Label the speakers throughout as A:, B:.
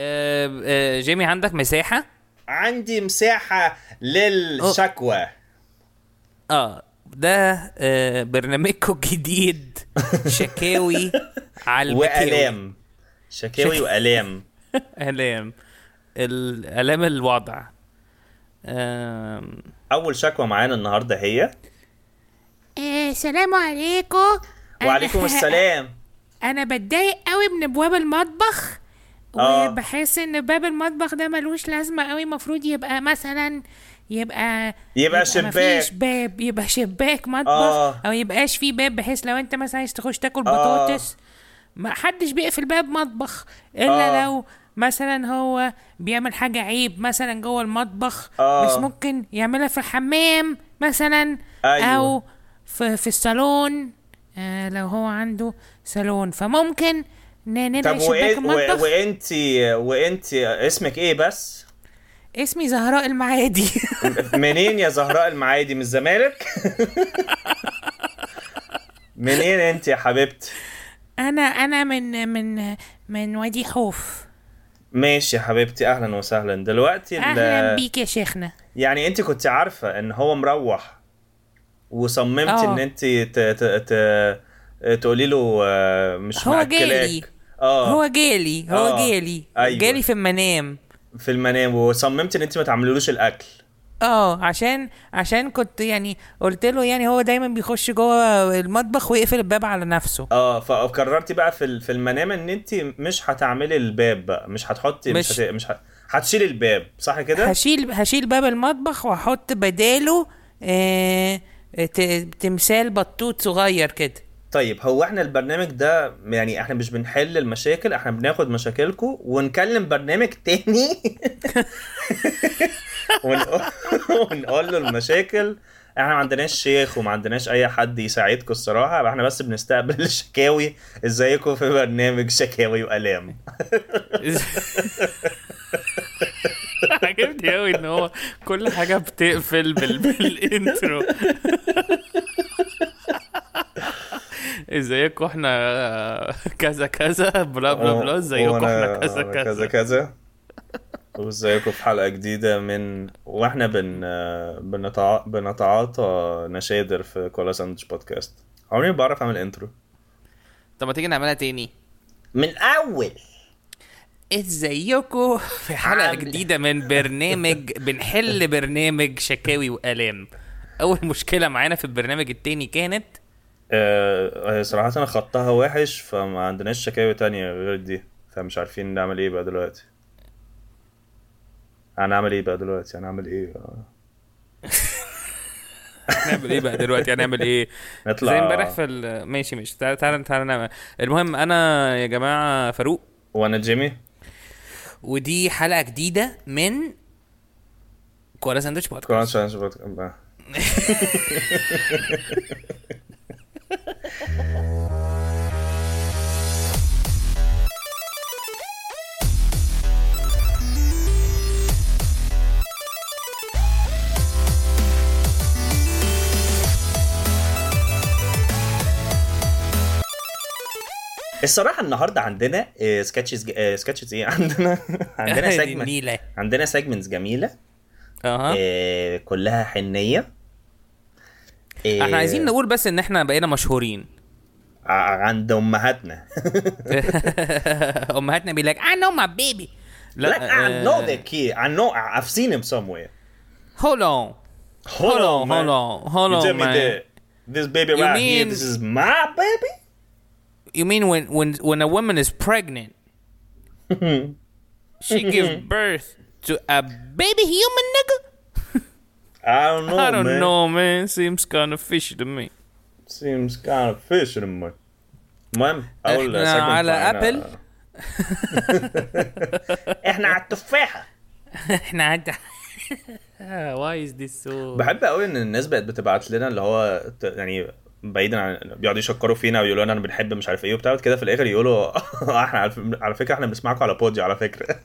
A: آه، آه، جيمي عندك مساحه
B: عندي مساحه للشكوى
A: اه ده آه، برنامجكم الجديد شكاوي على المكاوي.
B: والام شكاوي
A: شك-
B: والام
A: الام الالام الوضع آم،
B: اول شكوى معانا النهارده هي
C: آه، السلام عليكم أنا-
B: وعليكم السلام
C: انا بتضايق قوي من ابواب المطبخ
B: آه.
C: وبحس ان باب المطبخ ده ملوش لازمه قوي المفروض يبقى مثلا يبقى
B: يبقى شباك.
C: مفيش باب يبقى شباك مطبخ
B: آه.
C: او يبقاش فيه باب بحيث لو انت مثلا عايز تخش تاكل بطاطس ما حدش بيقفل باب مطبخ الا
B: آه.
C: لو مثلا هو بيعمل حاجه عيب مثلا جوه المطبخ
B: آه.
C: بس ممكن يعملها في الحمام مثلا
B: أيوة.
C: او في في الصالون آه لو هو عنده صالون فممكن ن-
B: طب
C: نلغي شباك
B: وإن- و-
C: المطبخ
B: وانت وانت اسمك ايه بس
C: اسمي زهراء المعادي
B: منين يا زهراء المعادي من الزمالك منين انت يا حبيبتي
C: انا انا من من من وادي خوف
B: ماشي يا حبيبتي اهلا وسهلا دلوقتي ال-
C: اهلا بيك يا شيخنا
B: يعني انت كنت عارفه ان هو مروح وصممت
C: آه.
B: ان انت ت... ت... ت... تقولي له آه، مش
C: هو
B: مأكلاك.
C: جالي.
B: اه
A: هو جالي هو
B: آه،
C: جالي
B: أيوة.
C: جالي في المنام
B: في المنام وصممت ان انت ما تعملولوش الاكل
C: اه عشان عشان كنت يعني قلت له يعني هو دايما بيخش جوه المطبخ ويقفل الباب على نفسه
B: اه فقررتي بقى في ال- في المنام ان انت مش هتعملي الباب بقى مش هتحطي مش
A: مش-
B: هت... مش ه... هتشيلي الباب صح كده
C: هشيل هشيل باب المطبخ واحط بداله آه ت- تمثال بطوط صغير كده
B: طيب هو احنا البرنامج ده يعني احنا مش بنحل المشاكل احنا بناخد مشاكلكم ونكلم برنامج تاني ونقول, ونقول له المشاكل احنا ما عندناش شيخ وما عندناش اي حد يساعدكم الصراحه احنا بس بنستقبل الشكاوي ازيكم في برنامج شكاوي والام
A: عجبني قوي ان هو كل حاجه بتقفل بال... بالانترو ازيكم احنا آه، كذا كذا بلا بلا بلا ازيكم احنا
B: وأنا-
A: كذا
B: وأنا كذا
A: كذا
B: كذا وازيكم في حلقه جديده من واحنا بن بنتع... بنتعاطى نشادر في كولا ساندويتش بودكاست عمري ما بعرف اعمل انترو
A: طب ما تيجي نعملها تاني
B: من اول
A: ازيكم في حلقه
B: عاملة.
A: جديده من برنامج بنحل برنامج شكاوي والام اول مشكله معانا في البرنامج التاني كانت
B: آه صراحه انا خطها وحش فما عندناش شكاوي تانية غير دي فمش عارفين نعمل ايه بقى دلوقتي هنعمل ايه بقى دلوقتي هنعمل ايه
A: هنعمل ايه بقى دلوقتي هنعمل ايه
B: نطلع-
A: زي امبارح في ال... ماشي ماشي تعالى تعالى تعالى نعمل المهم انا يا جماعه فاروق
B: وانا جيمي
A: ودي حلقه جديده من كولا ساندوتش بودكاست
B: كولا ساندويتش بودكاست الصراحه النهارده عندنا آه، سكتشز ج- آه، سكتشز ايه عندنا عندنا
A: دي
B: سيجمنت
A: النيلة.
B: عندنا سيجمنتس جميله
A: اها
B: آه، كلها حنيه آه،
A: احنا عايزين نقول بس ان احنا بقينا مشهورين
B: ع- آه، عند امهاتنا
A: امهاتنا بيقول لك انا ما بيبي
B: لا
A: آه.
B: I know the kid I know I've seen him somewhere
A: هولو اون
B: hold
A: on,
B: man.
A: hold on, hold
B: you
A: on,
B: tell me
A: man.
B: that this baby
A: You
B: right here
A: mean-
B: this is my baby
A: You mean when when when a woman is pregnant, she gives birth to a baby human nigga?
B: I don't know
A: I don't
B: man.
A: know, man. Seems kind of fishy to me.
B: seems kind of fishy to me المهم اول
A: إحنا
B: segment
A: على
B: معانا-
A: أبل.
B: uh. احنا على التفاحه
A: احنا عد... Why is this so
B: بحب قوي ان الناس بقت بتبعت لنا اللي هو ت- يعني بعيدا عن بيقعدوا يشكروا فينا ويقولوا لنا بنحب مش عارف ايه وبتاع بعد كده في الاخر يقولوا احنا على ف- على فكره احنا بنسمعكم على بودي على فكره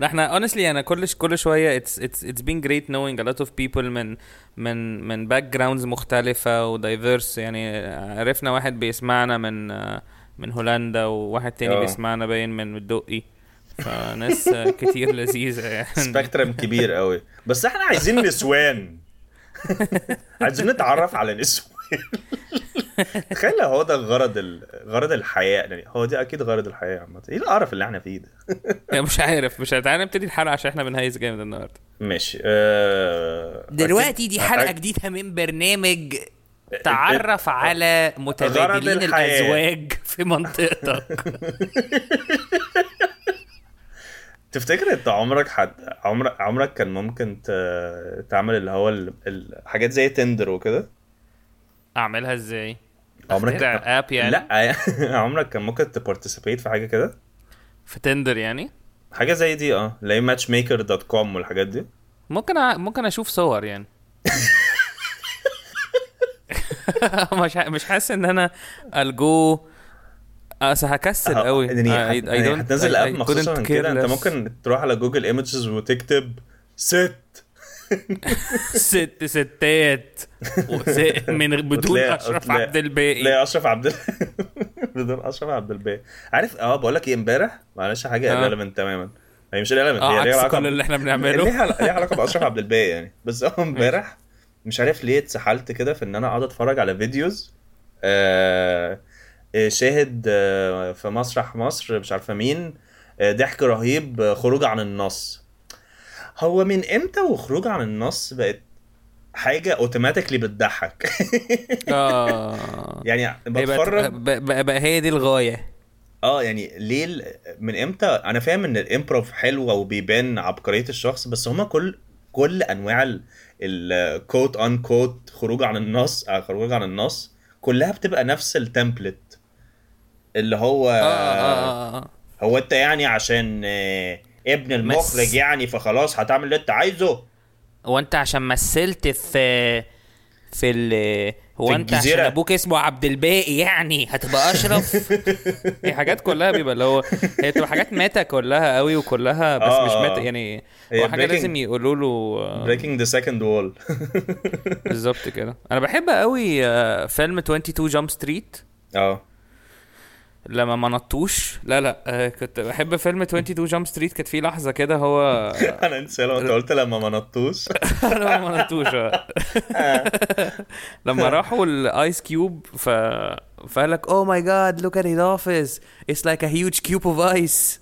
A: لا احنا اونستلي انا كل ش- كل شويه اتس اتس اتس بين جريت نوينج ا لوت اوف بيبل من من من باك جراوندز مختلفه ودايفيرس يعني عرفنا واحد بيسمعنا من آه، من هولندا وواحد تاني
B: آه.
A: بيسمعنا باين من الدقي فناس كتير لذيذه يعني
B: سبكترم كبير قوي بس احنا عايزين نسوان عايزين نتعرف على نسوان تخيل لو هو ده غرض ال... غرض الحياه يعني هو دي اكيد غرض الحياه عامه ايه القرف اللي احنا فيه ده
A: مش عارف مش عارف تعالى نبتدي الحلقه عشان احنا بنهيس جامد النهارده
B: ماشي آه...
A: دلوقتي دي حلقه
B: أكيد.
A: جديده من برنامج تعرف على
B: غرض
A: متبادلين
B: الحياة.
A: الازواج في منطقتك
B: تفتكر انت عمرك حد عمرك عمرك كان ممكن ت- تعمل اللي هو ال- الحاجات زي تندر وكده
A: اعملها ازاي
B: عمرك
A: أخترع اب يعني لا.
B: لا عمرك كان ممكن تبارتيسيبيت في حاجه كده
A: في تندر يعني
B: حاجه زي دي اه لاي ماتش ميكر دوت كوم والحاجات دي
A: ممكن أ... ممكن اشوف صور يعني مش ح... مش حاسس ان انا الجو آه، أصل هكسل
B: اه،
A: قوي
B: يعني
A: I-
B: هت-
A: I
B: يعني
A: don't-
B: هتنزل
A: I- I
B: اب مخصوصا
A: couldn't
B: عن كده انت
A: care less.
B: ممكن تروح على جوجل ايمجز وتكتب ست
A: ست ستات وس- من بدون
B: وتلاقي-
A: اشرف
B: وتلاقي-
A: عبد الباقي
B: لا اشرف عبد ال- بدون اشرف عبد الباقي عارف اه بقول لك ايه امبارح معلش حاجه
A: اه.
B: ريليفنت تماما هي مش ريليفنت
A: اه
B: هي ليها
A: عكس
B: علاقه
A: كل اللي احنا بنعمله
B: ليها ليها علاقه باشرف عبد الباقي يعني بس هو امبارح مش عارف ليه اتسحلت كده في ان انا اقعد اتفرج على فيديوز آه آه، شاهد آه في مسرح مصر مش عارفه مين آه، ضحك رهيب آه، خروج عن النص هو من امتى وخروج عن النص بقت حاجه اوتوماتيكلي بتضحك
A: اه
B: يعني
A: هي بقت-
B: بتفرج
A: بقى- بقى بقى هي دي الغايه
B: اه يعني ليه ال- من امتى انا فاهم ان الامبروف حلوه وبيبان عبقريه الشخص بس هما كل كل انواع الكوت ان كوت خروج عن النص آه، خروج عن النص كلها بتبقى نفس التمبلت اللي هو
A: اه اه اه, آه.
B: هو انت يعني عشان آه، ابن المخرج يعني فخلاص هتعمل اللي انت عايزه
A: وانت عشان مثلت في في ال هو
B: في
A: انت عشان
B: الجزيرة.
A: ابوك اسمه عبد الباقي يعني هتبقى اشرف هي حاجات كلها بيبقى اللي هو هي بتبقى حاجات ماتا كلها قوي وكلها بس
B: آه،
A: مش
B: آه.
A: ماتا يعني
B: هي
A: هو حاجه
B: breaking-
A: لازم يقولوا له آه،
B: بريكنج ذا سكند وول
A: بالظبط كده انا بحب قوي آه، فيلم 22 جامب ستريت
B: اه
A: لما ما نطوش لا لا آه، كنت بحب فيلم 22 جامب ستريت كانت في لحظه كده هو
B: انا انسى لو انت قلت لما ما نطوش
A: لما ما نطوش آه. لما راحوا الايس كيوب ف فقال لك "Oh اوه ماي جاد لوك ات هيز اوفيس اتس لايك ا هيوج كيوب اوف ايس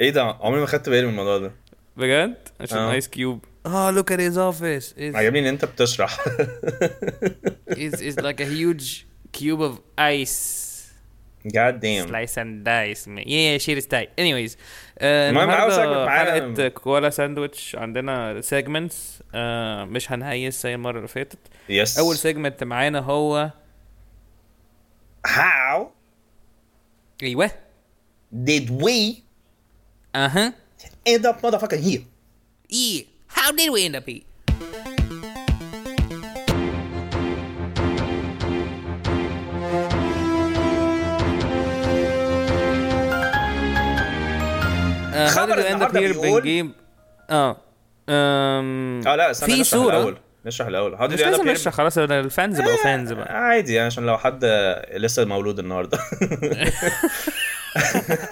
B: ايه ده عمري ما خدت بالي من الموضوع ده
A: بجد عشان
B: آه.
A: ايس كيوب اه لوك ات هيز اوفيس
B: عجبني ان انت بتشرح
A: اتس لايك ا هيوج كيوب اوف ايس
B: جاد ديم
A: سلايس اند دايس يا شير ستايل anyways آه،
B: المهم، عاوز
A: النهارده
B: أكل معانا.
A: حلقه كوالا ساندويتش عندنا سيجمنتس مش هنهيس زي المره اللي فاتت
B: يس
A: اول سيجمنت معانا هو
B: How
A: ايوه
B: did we
A: اها
B: end up motherfucking here?
A: ايه هاو ديد وي اند اب هير آه،
B: خبر النهاردة بيقول-
A: بنجيب اه أم...
B: اه لا آه. استنى
A: في
B: نشرح
A: صورة.
B: الاول نشرح الاول How did
A: مش
B: you end up
A: لازم
B: here?
A: نشرح خلاص ده الفانز بقوا فانز بقى
B: آه، عادي يعني عشان لو حد لسه مولود النهارده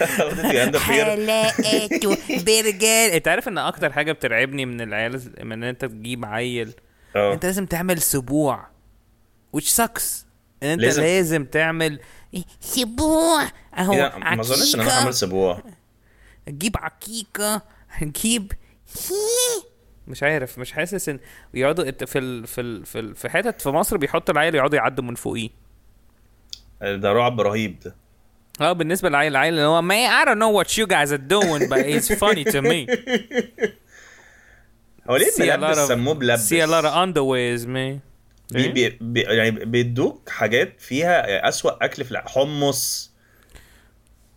B: How did you end up here?
A: حلقته برجر انت عارف ان اكتر حاجه بترعبني من العيال من ان انت تجيب عيل
B: اه
A: انت لازم تعمل سبوع which sucks ان انت لازم,
B: لازم.
A: لازم تعمل سبوع اهو
B: إيه ده؟ ما اظنش ان انا هعمل
A: عكيكة
B: سبوع
A: هتجيب عكيكة هتجيب مش عارف مش حاسس ان يقعدوا ات- في ال... في ال... في ال... في حتت في مصر بيحطوا العيل يقعدوا يعدوا من فوقيه
B: ده رعب رهيب ده
A: اه بالنسبه للعيل العيل اللي هو ما I don't know what you guys are doing but it's funny to me
B: هو ليه
A: See a
B: بلبس
A: lot of-
B: سموه بلبس
A: See a lot of underwears, man. إيه؟
B: بي بي بي يعني بيدوك حاجات فيها اسوأ اكل في الع- حمص
A: اه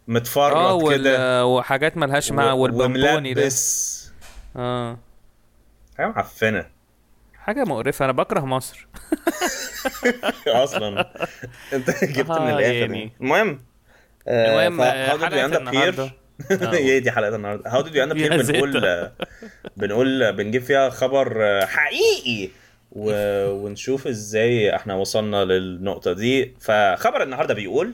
B: متفرط كده
A: وال- وحاجات ملهاش مع
B: و-
A: والبمبوني ده
B: وملبس.
A: اه
B: حاجه معفنه
A: حاجه مقرفه انا بكره مصر
B: اصلا انت جبت من
A: آه،
B: الاخر
A: يعني.
B: يعني. المهم
A: المهم، آه،
B: هاو ديد
A: حلقة
B: يو اند اب
A: النهاردة. آه.
B: هير هي دي حلقه النهارده هاو ديد يو اند اب
A: يا
B: هير
A: زيتا.
B: بنقول آه، بنقول آه، بنجيب فيها خبر آه، حقيقي و... ونشوف ازاي احنا وصلنا للنقطه دي فخبر النهارده بيقول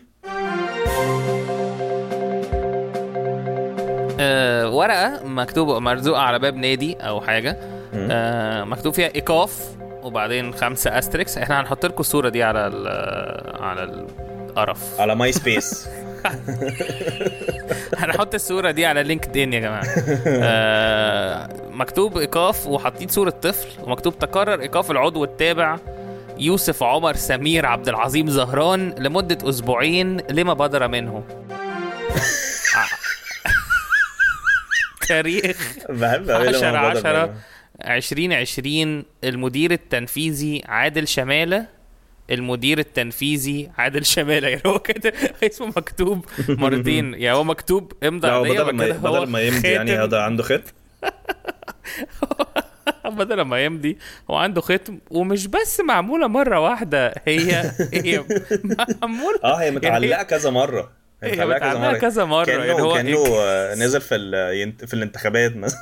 A: آه، ورقه مكتوبه مرزوقه على باب نادي او حاجه آه، مكتوب فيها ايقاف وبعدين خمسه استريكس احنا هنحط لكم الصوره دي على ال على القرف
B: على ماي سبيس
A: هنحط الصوره دي على لينكد ان يا جماعه آه، مكتوب ايقاف وحاطين صوره طفل ومكتوب تقرر ايقاف العضو التابع يوسف عمر سمير عبد العظيم زهران لمده اسبوعين لما بدر منه آه. تاريخ
B: بحب قوي
A: 10
B: لما
A: 10 2020 المدير التنفيذي عادل شماله المدير التنفيذي عادل شماله يعني هو كده اسمه مكتوب مرتين يعني هو مكتوب امضى
B: لا هو
A: عليا
B: بدل
A: بعد
B: ما
A: كده هو
B: بدل ما يمضي يعني
A: خاتم.
B: هذا عنده خط
A: بدل ما يمضي هو عنده ختم ومش بس معموله مره واحده هي هي معموله
B: اه هي
A: يعني
B: متعلقه كذا مره
A: هي متعلقة كذا مرة،
B: كانه
A: يعني هو
B: كانه
A: إيه؟
B: آه، نزل في ال- ينت- في الانتخابات مثلا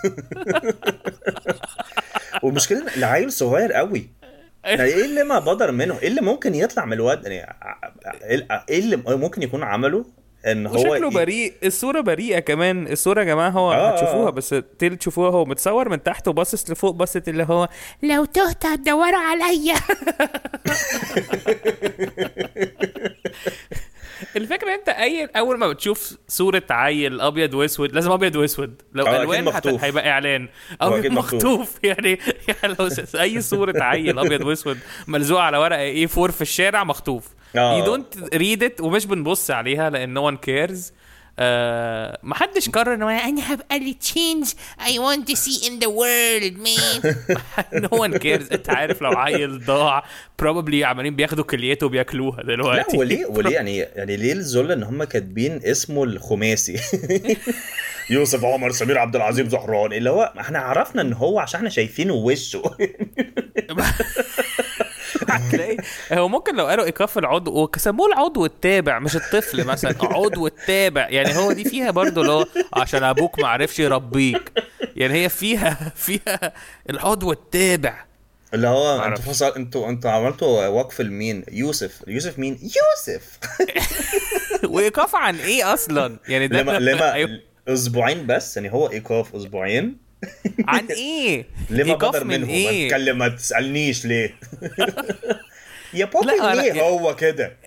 B: والمشكله إن العيل صغير قوي يعني ايه اللي ما بدر منه ايه اللي ممكن يطلع من الواد يعني ع- ع- ايه اللي ممكن يكون عمله ان هو
A: وشكله
B: ي-
A: بريء الصوره بريئه كمان الصوره يا جماعه هو
B: آه.
A: هتشوفوها بس تيل تشوفوها هو متصور من تحت وباصص لفوق باصت اللي هو
C: لو تهت هتدوروا عليا
A: الفكره انت اي اول ما بتشوف صوره عيل ابيض واسود لازم ابيض واسود لو
B: آه، أكيد
A: الوان هت-
B: مخطوف.
A: هيبقى اعلان
B: هو
A: ابيض
B: أكيد مخطوف.
A: مخطوف يعني يعني لو س- اي صوره عيل ابيض واسود ملزوقه على ورقه اي 4 في الشارع مخطوف
B: آه.
A: يو دونت ريد ات ومش بنبص عليها لان نو ون كيرز آه محدش قرر ان هو يعني
C: انا هبقى اللي تشينج I want to see in the world man
A: نو ون كيرز انت عارف لو عيل ضاع بروبلي عمالين بياخدوا كليته وبياكلوها
B: لا
A: دلوقتي
B: وليه وليه يعني يعني ليه الذل ان هم كاتبين اسمه الخماسي يوسف عمر سمير عبد العزيز زهران اللي هو احنا عرفنا ان هو عشان احنا شايفينه وشه
A: هتلاقي هو ممكن لو قالوا ايقاف العضو وسموه العضو التابع مش الطفل مثلا عضو التابع يعني هو دي فيها برضه اللي هو عشان ابوك ما عرفش يربيك يعني هي فيها فيها العضو التابع
B: اللي هو
A: معرفش.
B: انتوا فصل انتوا انتوا عملتوا وقف لمين يوسف يوسف مين يوسف
A: وايقاف عن ايه اصلا يعني ده
B: لما
A: أيوة.
B: لما اسبوعين بس يعني هو ايقاف اسبوعين
A: عن ايه
B: لما
A: إيقاف
B: بدر منه
A: إيه؟
B: ما تتكلم ما تسالنيش ليه
A: لا،
B: يا
A: يعني
B: بوبي
A: لا،
B: ليه
A: يا-
B: هو كده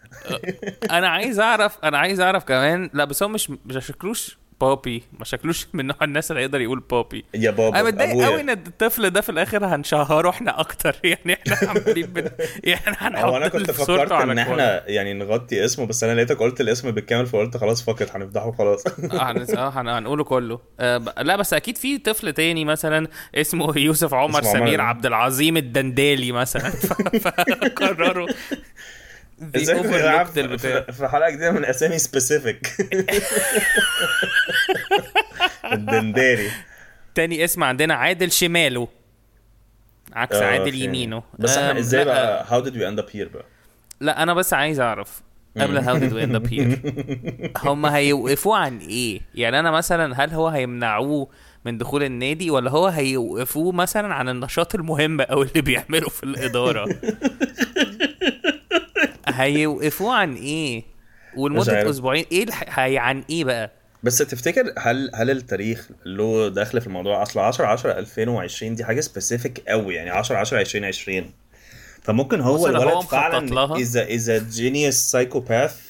A: انا عايز اعرف انا عايز اعرف كمان لا بس هو مش ما شكلوش بابي ما شكلوش من نوع الناس اللي هيقدر يقول بابي
B: يا بابا
A: انا متضايق
B: أبويا.
A: قوي ان الطفل ده في الاخر هنشهره احنا اكتر يعني احنا عمالين بن... يعني هنحط
B: هو انا كنت
A: صورته
B: فكرت
A: على
B: ان
A: كوالي.
B: احنا يعني نغطي اسمه بس انا لقيتك قلت الاسم بالكامل فقلت خلاص فكت هنفضحه خلاص
A: اه هن- آه، هن- هنقوله كله آه ب- لا بس اكيد في طفل تاني مثلا اسمه يوسف عمر
B: اسمه عمر.
A: سمير عبد العظيم الدندالي مثلا ف- فقرروا The
B: ازاي
A: overlooked
B: بنلعب
A: البتاع.
B: في في حلقه جديده من اسامي سبيسيفيك الدنداري
A: تاني اسم عندنا عادل شماله عكس
B: آه،
A: عادل
B: في-
A: يمينه
B: بس
A: آم،
B: احنا ازاي
A: لا،
B: بقى هاو ديد وي اند اب هير بقى
A: لا انا بس عايز اعرف قبل هاو ديد وي اند اب هير هم هيوقفوه عن ايه؟ يعني انا مثلا هل هو هيمنعوه من دخول النادي ولا هو هيوقفوه مثلا عن النشاط المهم او اللي بيعمله في الاداره؟ هيوقفوه عن ايه؟
B: عارف.
A: ولمده اسبوعين ايه الح... هي عن ايه بقى؟
B: بس تفتكر هل هل التاريخ له دخل في الموضوع اصل 10 10 2020 دي حاجه سبيسيفيك قوي يعني 10 10 2020 فممكن هو
A: مثلاً هو
B: الولد
A: مخطط
B: فعلا
A: لها.
B: اذا اذا جينيوس سايكوباث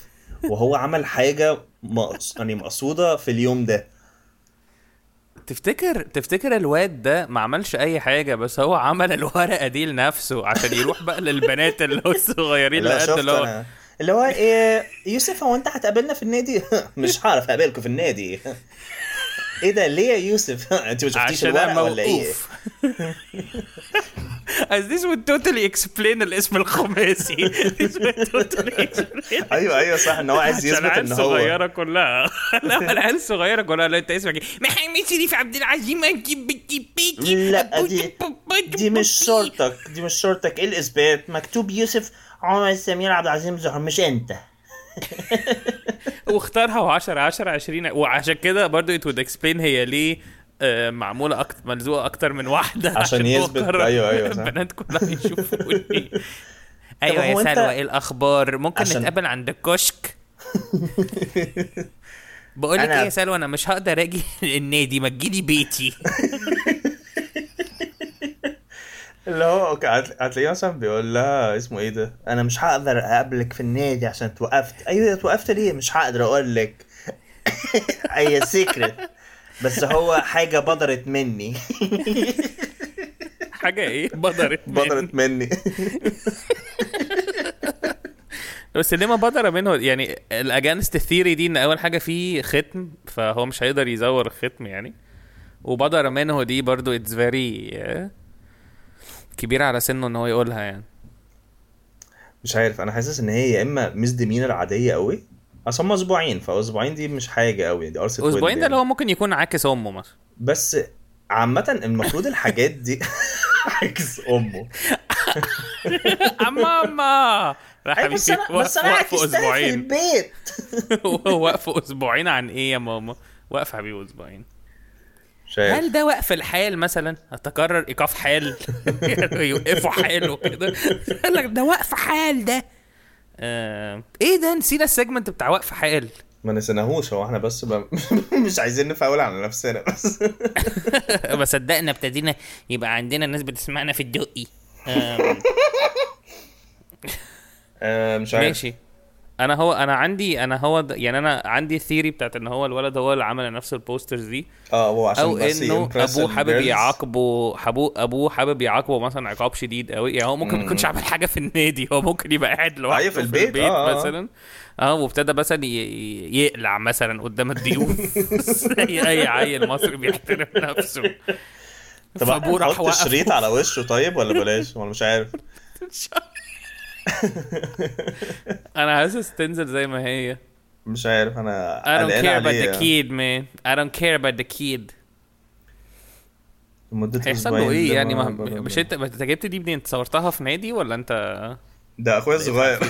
B: وهو عمل حاجه مقص- يعني مقصوده في اليوم
A: إيه
B: ده
A: تفتكر تفتكر الواد ده ما عملش اي حاجه بس هو عمل الورقه دي لنفسه عشان يروح بقى للبنات اللي هو الصغيرين اللي
B: لا
A: قد
B: شفت
A: اللي هو
B: انا اللي هو إيه يوسف هو انت هتقابلنا في النادي مش هعرف اقابلكم في النادي ايه ده ليه يا يوسف انت ما شفتيش
A: عشان انا
B: الورقه ولا ايه
A: موقوف As this would totally explain الاسم الخماسي This would totally explain
B: ايوه ايوه صح ان هو عايز
A: عشان
B: يثبت
A: العيال
B: ان هو
A: الصغيرة كلها لا العيال الصغيرة كلها لا انت اسمك ايه؟ محمد شريف عبد العزيز أنجي بيكي بيكي
B: لا دي دي مش شرطك دي مش شرطك ايه الاثبات مكتوب يوسف عمر سمير عبد العزيز زهر مش انت
A: واختارها و10 10 20 وعشان كده برضو it would explain هي ليه آه، معمولة أكتر ملزوقة أكتر من واحدة عشان, هو
B: يثبت.
A: قرر
B: أيوة، أيوة، صح.
A: البنات كلها يشوفوني أيوة
B: هو
A: يا
B: أنت-
A: سلوى إيه الأخبار؟ ممكن
B: عشان-
A: نتقابل عند الكشك بقول لك
B: أنا-
A: ايه يا سلوى انا مش هقدر اجي النادي ما تجيلي بيتي
B: اللي هو اوكي هت- هتلاقيه مثلا بيقول لها اسمه ايه ده انا مش هقدر اقابلك في النادي عشان اتوقفت ايوه اتوقفت ليه مش هقدر اقول لك اي سيكرت بس هو حاجه بدرت مني
A: حاجه ايه بدرت بدرت
B: بدرت مني
A: بس ليه ما بدر منه يعني الاجانست الثيري دي ان اول حاجه فيه ختم فهو مش هيقدر يزور الختم يعني وبدر منه دي برضو اتس فيري كبيره على سنه ان هو يقولها يعني
B: مش عارف انا حاسس ان هي يا اما مس ديمينر عاديه قوي اصل هم اسبوعين فاسبوعين دي مش حاجه قوي دي ارسل
A: اسبوعين ده اللي هو ممكن يكون عاكس امه مثلا
B: بس عامة المفروض الحاجات دي عكس امه
A: آه، ماما راح
B: أيوة، بس انا بس انا
A: وقفوا
B: عكستها في
A: اسبوعين
B: البيت
A: وقفوا اسبوعين عن ايه يا ماما وقف حبيبي اسبوعين
B: مش عارف.
A: هل ده وقف الحال مثلا هتكرر ايقاف حال يعني يوقفوا حاله كده قال لك ده وقف حال ده آه، ايه ده نسينا السيجمنت بتاع وقف حال
B: ما نسيناهوش هو احنا بس ب... مش عايزين نفاول على نفسنا بس
A: ما صدقنا ابتدينا يبقى عندنا ناس بتسمعنا في الدقي آم،
B: آه مش عارف
A: ماشي انا هو انا عندي انا هو د- يعني انا عندي الثيري بتاعت ان هو الولد هو اللي عمل نفس البوسترز دي
B: اه هو عشان
A: او
B: بس
A: انه
B: يimpress
A: ابوه حابب
B: الgirls.
A: يعاقبه حابو ابوه حابب يعاقبه مثلا عقاب شديد قوي يعني هو ممكن ما يكونش عامل حاجه في النادي هو ممكن يبقى قاعد لوحده
B: أيوة، في البيت، آه، آه.
A: مثلا اه وابتدى مثلا ي- ي- يقلع مثلا قدام الضيوف زي اي عيل مصري بيحترم نفسه
B: طب
A: فابوه راح
B: احط
A: وقف
B: شريط على وشه طيب ولا بلاش ولا مش عارف
A: انا حاسس تنزل زي ما هي
B: مش عارف انا
A: I don't
B: قلقان
A: care about the
B: عليه
A: kid man I don't care about the kid
B: مدة
A: هيحصل
B: أسبوعين
A: له ايه
B: ده
A: يعني
B: ما-
A: ما
B: ما-
A: مش انت انت جبت دي منين انت صورتها في نادي ولا انت
B: ده اخويا الصغير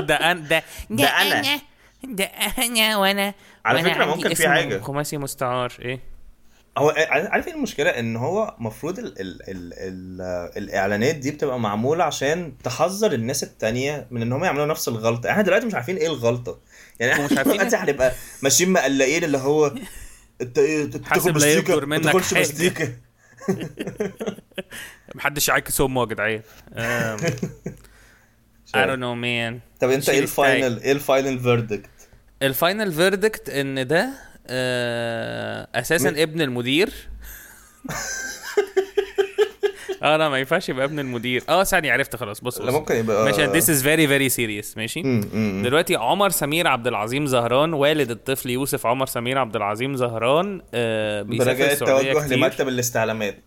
A: ده انا ده
D: ده أنا.
C: ده انا وانا
B: على
C: وأنا
B: فكرة
C: عندي
B: ممكن في
A: اسمه
B: حاجة.
A: خماسي مستعار ايه
B: هو عارف ايه المشكله ان هو المفروض ال ال ال ال الاعلانات دي بتبقى معموله عشان تحذر الناس التانية من ان هم يعملوا نفس الغلطه احنا دلوقتي مش عارفين ايه الغلطه يعني احنا
A: ومش عارفين
B: دلوقتي هنبقى ماشيين مقلقين اللي هو انت ايه تاخد
A: حاسب لا
B: مستيكة؟
A: يقدر
B: ما
A: منك
B: تاخدش
A: حاجة.
B: مستيكة.
A: محدش يعاكس امه يا جدعان أم، I don't know man
B: طب انت ايه
A: شيل ستايل.
B: الفاينل ايه الفاينل فيردكت
A: الفاينل فيردكت ان ده آه، اساسا ابن المدير اه لا ما ينفعش يبقى ابن المدير اه ثانية عرفت خلاص بص
B: لا
A: بص
B: ممكن يبقى
A: ماشي ذيس از فيري فيري سيريس ماشي دلوقتي عمر سمير عبد العظيم زهران والد الطفل يوسف عمر سمير عبد العظيم زهران آه بيسافر
B: برجاء
A: السعودية
B: إيه التوجه
A: كتير
B: لمكتب الاستعلامات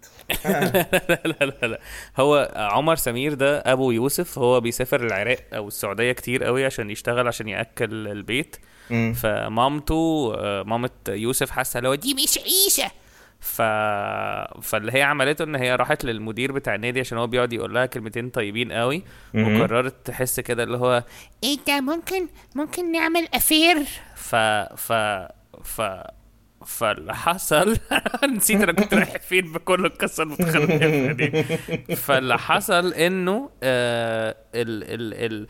A: لا لا لا لا هو عمر سمير ده ابو يوسف هو بيسافر العراق او السعوديه كتير قوي عشان يشتغل عشان ياكل البيت
B: مم.
A: فمامته آه، مامه يوسف حاسه لو دي مش عيشه ف... فاللي هي عملته ان هي راحت للمدير بتاع النادي عشان هو بيقعد يقول لها كلمتين طيبين قوي وقررت تحس كده اللي هو
D: ايه ده ممكن ممكن نعمل افير
A: ف ف ف فاللي حصل نسيت انا كنت رايح فين بكل القصه المتخلفه دي فاللي حصل انه آه ال ال ال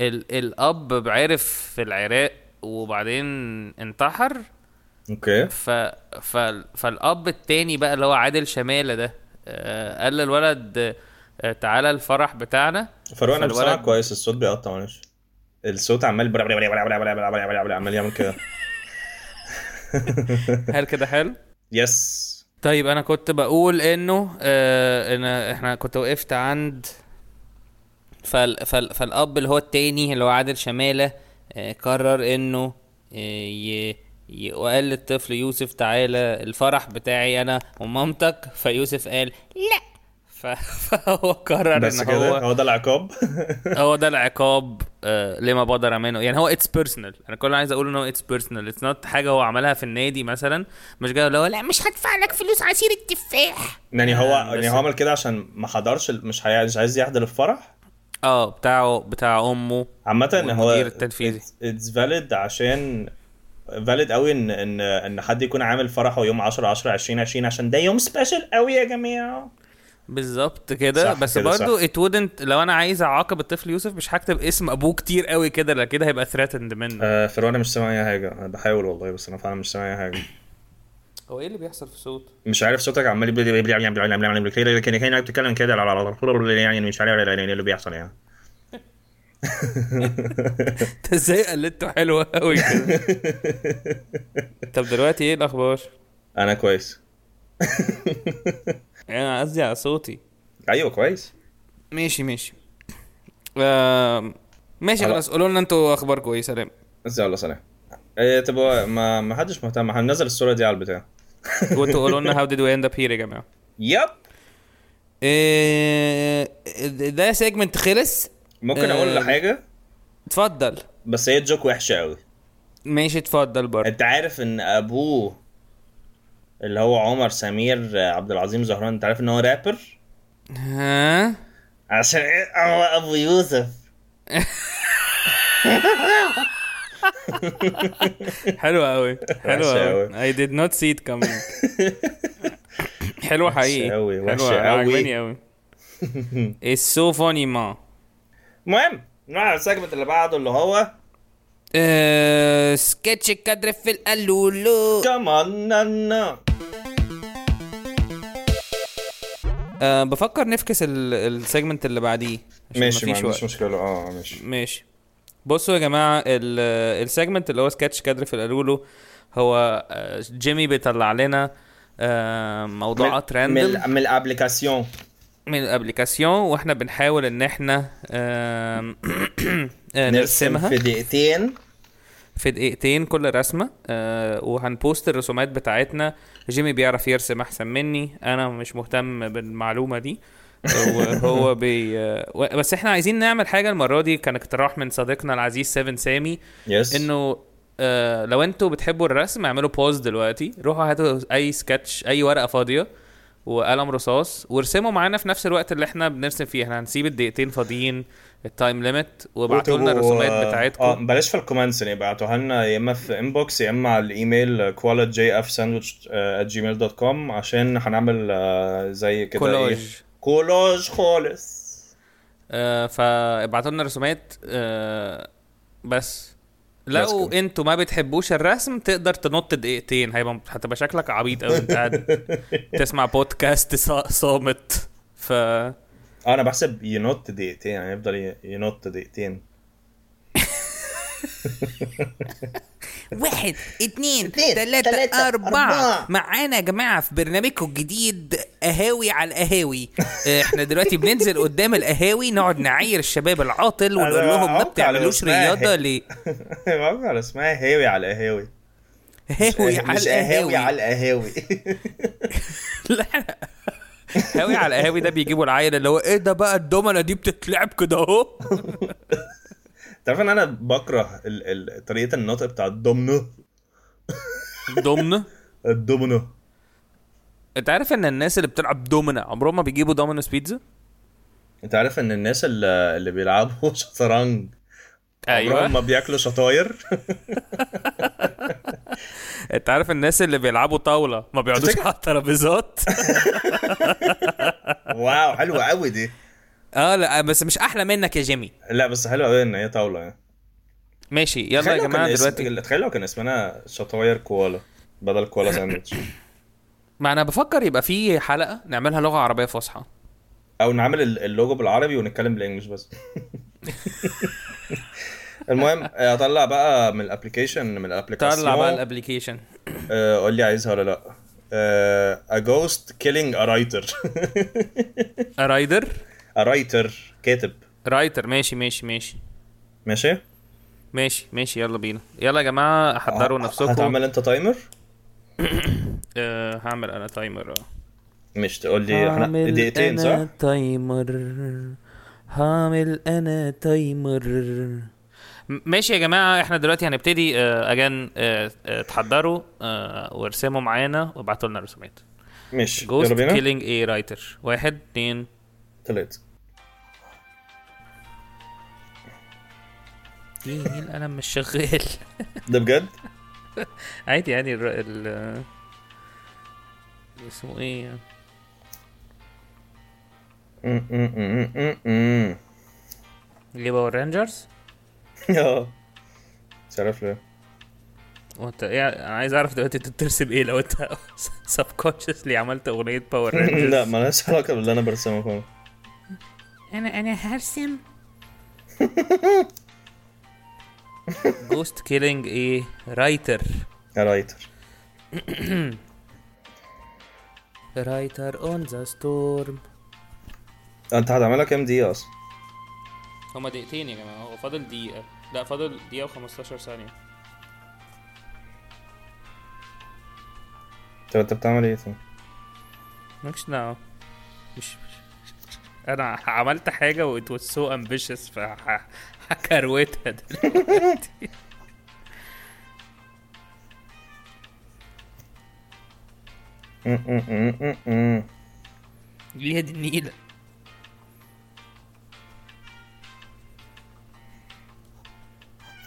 A: ال الاب عرف في العراق وبعدين انتحر
B: اوكي
A: ف ف فالاب التاني بقى اللي هو عادل شماله ده آه قال للولد آه تعالى الفرح بتاعنا
B: فاروق انا
A: فالولد-
B: بسمعك كويس الصوت بيقطع معلش الصوت عمال برا- برا- برا- برا- برا- برا- برا- برا- برا- عمال يعمل كده
A: هل كده حلو؟
B: يس
A: طيب انا كنت بقول انه آه ان احنا كنت وقفت عند فال فال فالاب اللي هو التاني اللي هو عادل شماله آه قرر انه آه ي ي- وقال للطفل يوسف تعالى الفرح بتاعي انا ومامتك فيوسف قال لا ف- فهو قرر
B: بس
A: ان
B: كده
A: هو
B: هو ده العقاب
A: هو ده العقاب آه، لما بدر منه يعني هو اتس بيرسونال انا كل اللي عايز اقول ان هو اتس بيرسونال اتس نوت حاجه هو عملها في النادي مثلا مش جاي اللي هو لا
D: لا مش هدفع لك فلوس عصير التفاح
B: يعني هو
A: بس-
B: يعني هو عمل كده عشان ما حضرش ال- مش هي- مش عايز يحضر الفرح
A: اه بتاعه بتاع امه
B: عامة إن يعني هو
A: والمدير التنفيذي.
B: اتس فاليد عشان فاليد قوي ان ان ان حد يكون عامل فرحه يوم 10 10 20 20 عشان ده يوم سبيشال قوي يا جماعه
A: بالظبط كده
B: صح
A: بس
B: كده،
A: برضو
B: صح.
A: ات wouldn't لو انا عايز اعاقب الطفل يوسف مش هكتب اسم ابوه كتير قوي كده لا كده هيبقى ثريتند منه
B: آه فرونا مش سامع اي حاجه انا بحاول والله بس انا فعلا مش سامع اي حاجه
A: هو ايه اللي بيحصل في الصوت؟
B: مش عارف صوتك عمال يبدا يبدا- يبدا- يبدا- يبدا- يبدا- يبدا- يبدا- كأنك- كأنك بتتكلم كده على- على طول يعني مش عارف يعني اللي بيحصل يعني
A: انت ازاي قلدته حلوه قوي كده طب دلوقتي ايه الاخبار؟
B: انا كويس
A: انا قصدي على صوتي
B: ايوه كويس
A: ماشي ماشي آم، ماشي
B: على-
A: خلاص قولوا لنا انتوا اخباركم ايه سلام
B: بس يلا سلام إيه طب هو ما ما حدش مهتم هننزل الصوره دي على البتاع
A: وانتوا قولوا لنا هاو ديد وي اند اب هير يا جماعه
B: يب
A: إيه، ده سيجمنت خلص
B: ممكن اقول
A: آه.
B: حاجه
A: اتفضل
B: بس هي جوك وحشه قوي
A: ماشي اتفضل برضه
B: انت عارف ان ابوه اللي هو عمر سمير آه، عبد العظيم زهران انت عارف ان هو رابر
A: ها
B: عشان ايه هو ابو يوسف
A: حلو قوي حلو
B: وحشة
A: قوي
B: أوي.
A: اي ديد نوت سي ات كامينج حلو حقيقي
B: أوي،
A: حلوة
B: وحشة
A: أوي،
B: أوي.
A: عجباني قوي اتس سو فاني ما
B: المهم نروح على السيجمنت اللي بعده اللي هو
A: آه، سكتش الكادر في القلولو
B: كمان نانا
A: أه بفكر نفكس ال- السيجمنت اللي بعديه عشان
B: ماشي ما
A: مفيش
B: عنديش
A: وقت
B: مشكله اه ماشي
A: ماشي بصوا يا جماعه ال- السيجمنت اللي هو سكتش كادر في القلولو هو آه، جيمي بيطلع لنا آه، موضوعات
B: من
A: راندوم
B: من الابليكاسيون
A: من الابليكاسيون واحنا بنحاول ان احنا آم، آه، نرسمها
B: في دقيقتين
A: في دقيقتين كل رسمه آه، وهنبوست الرسومات بتاعتنا جيمي بيعرف يرسم احسن مني انا مش مهتم بالمعلومه دي وهو بي آه، و- بس احنا عايزين نعمل حاجه المره دي كان اقتراح من صديقنا العزيز 7 سامي
B: يس
A: انه آه لو انتوا بتحبوا الرسم اعملوا بوز دلوقتي روحوا هاتوا اي سكتش اي ورقه فاضيه وقلم رصاص وارسموا معانا في نفس الوقت اللي احنا بنرسم فيه احنا هنسيب الدقيقتين فاضيين التايم ليميت وابعتوا لنا الرسومات
B: اه
A: بتاعتكم
B: بلاش في الكومنتس يعني ابعتوها لنا يا اما في انبوكس يا اما على آه، الايميل آه، qualitjfsandwich@gmail.com عشان هنعمل آه، زي كده
A: كولاج.
B: إيه؟ كولاج خالص
A: آه فابعتوا لنا الرسومات آه بس
B: بس
A: لو
B: كده.
A: انتوا ما بتحبوش الرسم تقدر تنط دقيقتين هيبقى هتبقى شكلك عبيط قوي انت قاعد تسمع بودكاست صا- صامت ف
B: اه انا بحسب ينط دقيقتين يعني يفضل ي- ينط دقيقتين
C: واحد اتنين
B: اتنين،
C: تلاتة
B: تلاتة،
C: أربعة
B: أربعة.
C: معانا يا جماعة في برنامجكم الجديد قهاوي على القهاوي آه، احنا دلوقتي بننزل قدام القهاوي نقعد نعاير الشباب العاطل ونقول
B: أنا
C: لهم ما
B: عمت على
C: بتعملوش
B: أسماعي.
C: رياضة ليه
B: بعمل على اسمها هاوي على قهاوي
C: هاوي على
B: مش قهاوي
C: القهاوي
B: على القهاوي
A: لا هاوي على القهاوي ده بيجيبوا العيل اللي هو ايه ده بقى الدومنه دي بتتلعب كده اهو
B: تعرف ان انا بكره ال- ال- طريقه النطق بتاع الضمنه
A: دومنه
B: الضمنه
A: انت عارف ان الناس اللي بتلعب دومنه عمرهم ما بيجيبوا دومينوس بيتزا
B: انت عارف ان الناس اللي, اللي بيلعبوا شطرنج عمرهم ما
A: ايوه
B: بياكلوا شطاير
A: انت عارف الناس اللي بيلعبوا طاوله ما بيقعدوش
B: تفتكر-
A: على الترابيزات
B: واو حلوه قوي دي
A: اه لا بس مش احلى منك يا جيمي
B: لا بس حلوه قوي ان هي طاوله يعني
A: ماشي يلا
B: تخيل
A: يا
B: لو
A: جماعه
B: كان اسم-
A: دلوقتي
B: تخيل لو كان اسمنا شطاير كوالا بدل كوالا ساندوتش
A: ما انا بفكر يبقى في حلقه نعملها لغه عربيه فصحى
B: او نعمل ال- اللوجو بالعربي ونتكلم بالانجلش بس المهم اطلع بقى من الابلكيشن من الابلكيشن
A: طلع بقى الابلكيشن
B: آه، قول لي عايزها ولا لا آه، a ghost killing a writer
A: رايدر
B: a writer كاتب
A: رايتر ماشي ماشي ماشي
B: ماشي
A: ماشي ماشي يلا بينا يلا يا جماعه حضروا نفسكم
B: آه، هتعمل انت تايمر
A: آه هعمل انا تايمر اه
B: مش تقول لي احنا
A: هعمل
B: دقيقتين
A: انا
B: صح
A: تايمر هعمل انا تايمر م- ماشي يا جماعه احنا دلوقتي هنبتدي آه، اجان آه، آه، اتحضروا آه، وارسموا معانا وابعتوا لنا الرسومات
B: مش
A: جوست
B: يلا بينا
A: كيلينج اي رايتر واحد اتنين
B: ثلاثة
A: ليه ليه القلم مش شغال
B: ده بجد
A: عادي عادي ال إيه؟ ال- اسمه ايه يعني
B: م- م- م- م- م- م.
A: ليه باور رينجرز
B: اه مش عارف ليه
A: وانت يعني انا عايز اعرف دلوقتي انت بترسم ايه لو انت سبكونشسلي عملت اغنيه باور رينجرز
B: لا مالهاش علاقه باللي انا برسمه خالص
C: انا انا هرسم
A: جوست كيلينج ايه رايتر
B: يا رايتر
A: رايتر اون ذا ستورم
B: انت هتعملها كام دقيقه اصلا
A: هما دقيقتين يا جماعه هو فاضل دقيقه لا فاضل دقيقه و15 ثانيه
B: طب انت بتعمل ايه طيب؟
A: مالكش دعوه مش مش- انا عملت حاجه وات واز سو امبيشس فهكروتها دلوقتي
B: م- م- م- م- م.
A: ليه دي النيله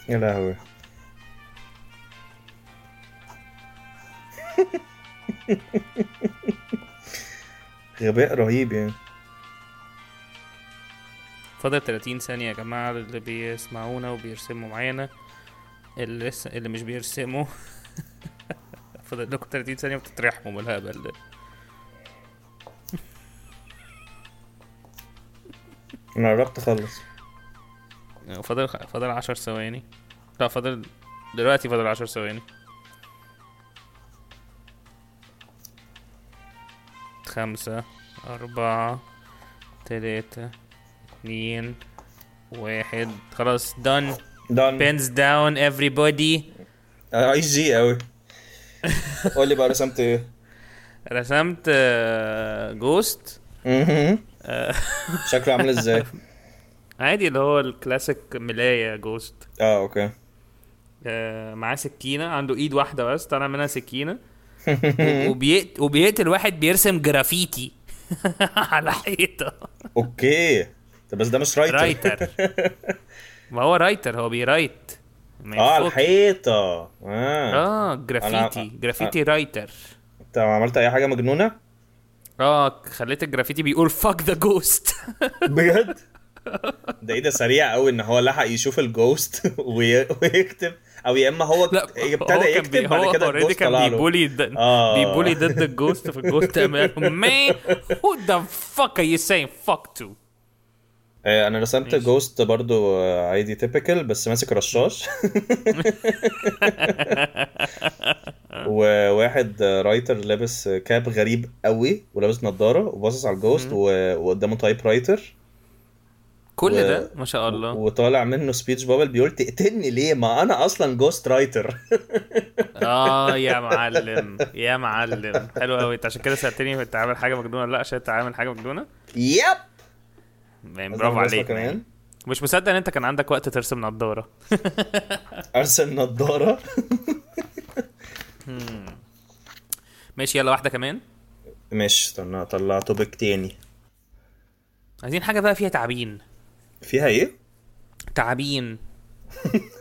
B: يا لهوي غباء رهيب يعني
A: فاضل 30 ثانية يا جماعة اللي بيسمعونا وبيرسموا معانا اللي لسه اللي مش بيرسموا فاضل لكم 30 ثانية بتترحموا من الهبل ده
B: انا قربت اخلص
A: فاضل خ- فاضل 10 ثواني لا فاضل دلوقتي فاضل 10 ثواني خمسة أربعة تلاتة اتنين واحد خلاص done
B: دان
A: pins down everybody
B: اي جي قوي قول لي بقى رسمت ايه
A: رسمت آه، جوست آه،
B: مهم. شكله عامل ازاي
A: عادي اللي هو الكلاسيك ملاية جوست آه،
B: اه اوكي
A: معاه سكينة عنده ايد واحدة بس طالع منها سكينة وبيقت... وبيقتل واحد بيرسم جرافيتي على حيطة
B: اوكي طب بس ده مش رايتر
A: رايتر. ما هو رايتر هو بيرايت ما
B: اه على
A: يفوت.
B: الحيطه اه
A: اه جرافيتي
B: أنا-
A: جرافيتي رايتر
B: انت عملت اي حاجه مجنونه
A: اه خليت الجرافيتي بيقول فاك ذا جوست
B: بجد ده ايه ده سريع قوي ان هو لحق يشوف الجوست وي- ويكتب او يا اما هو
A: لا
B: إيه، ابتدى يكتب بعد
A: هو
B: كده
A: اوريدي
B: الجوست
A: كان
B: طلع له
A: بيبولي د...
B: آه.
A: بيبولي ضد الجوست فالجوست قال له، man who the fuck are you saying fuck to
B: آه، انا رسمت جوست برضو آه، عادي تيبيكال بس ماسك رشاش وواحد آه، رايتر لابس آه، كاب غريب قوي ولابس نظاره وباصص على الجوست و- وقدامه تايب رايتر
A: كل
B: و-
A: ده ما شاء الله
B: وطالع منه سبيتش بابل بيقول تقتلني ليه ما انا اصلا جوست رايتر
A: اه يا معلم يا معلم حلو قوي انت عشان كده سالتني انت عامل حاجه مجنونه ولا لا عشان انت عامل حاجه مجنونه
B: يب
A: man، برافو عليك man.
B: كمان
A: مش مصدق ان انت كان عندك وقت ترسم نضاره
B: ارسم نظاره
A: ماشي يلا واحده كمان
B: ماشي استنى اطلع توبيك تاني
A: عايزين حاجه بقى فيها تعبين
B: فيها ايه؟
A: تعبين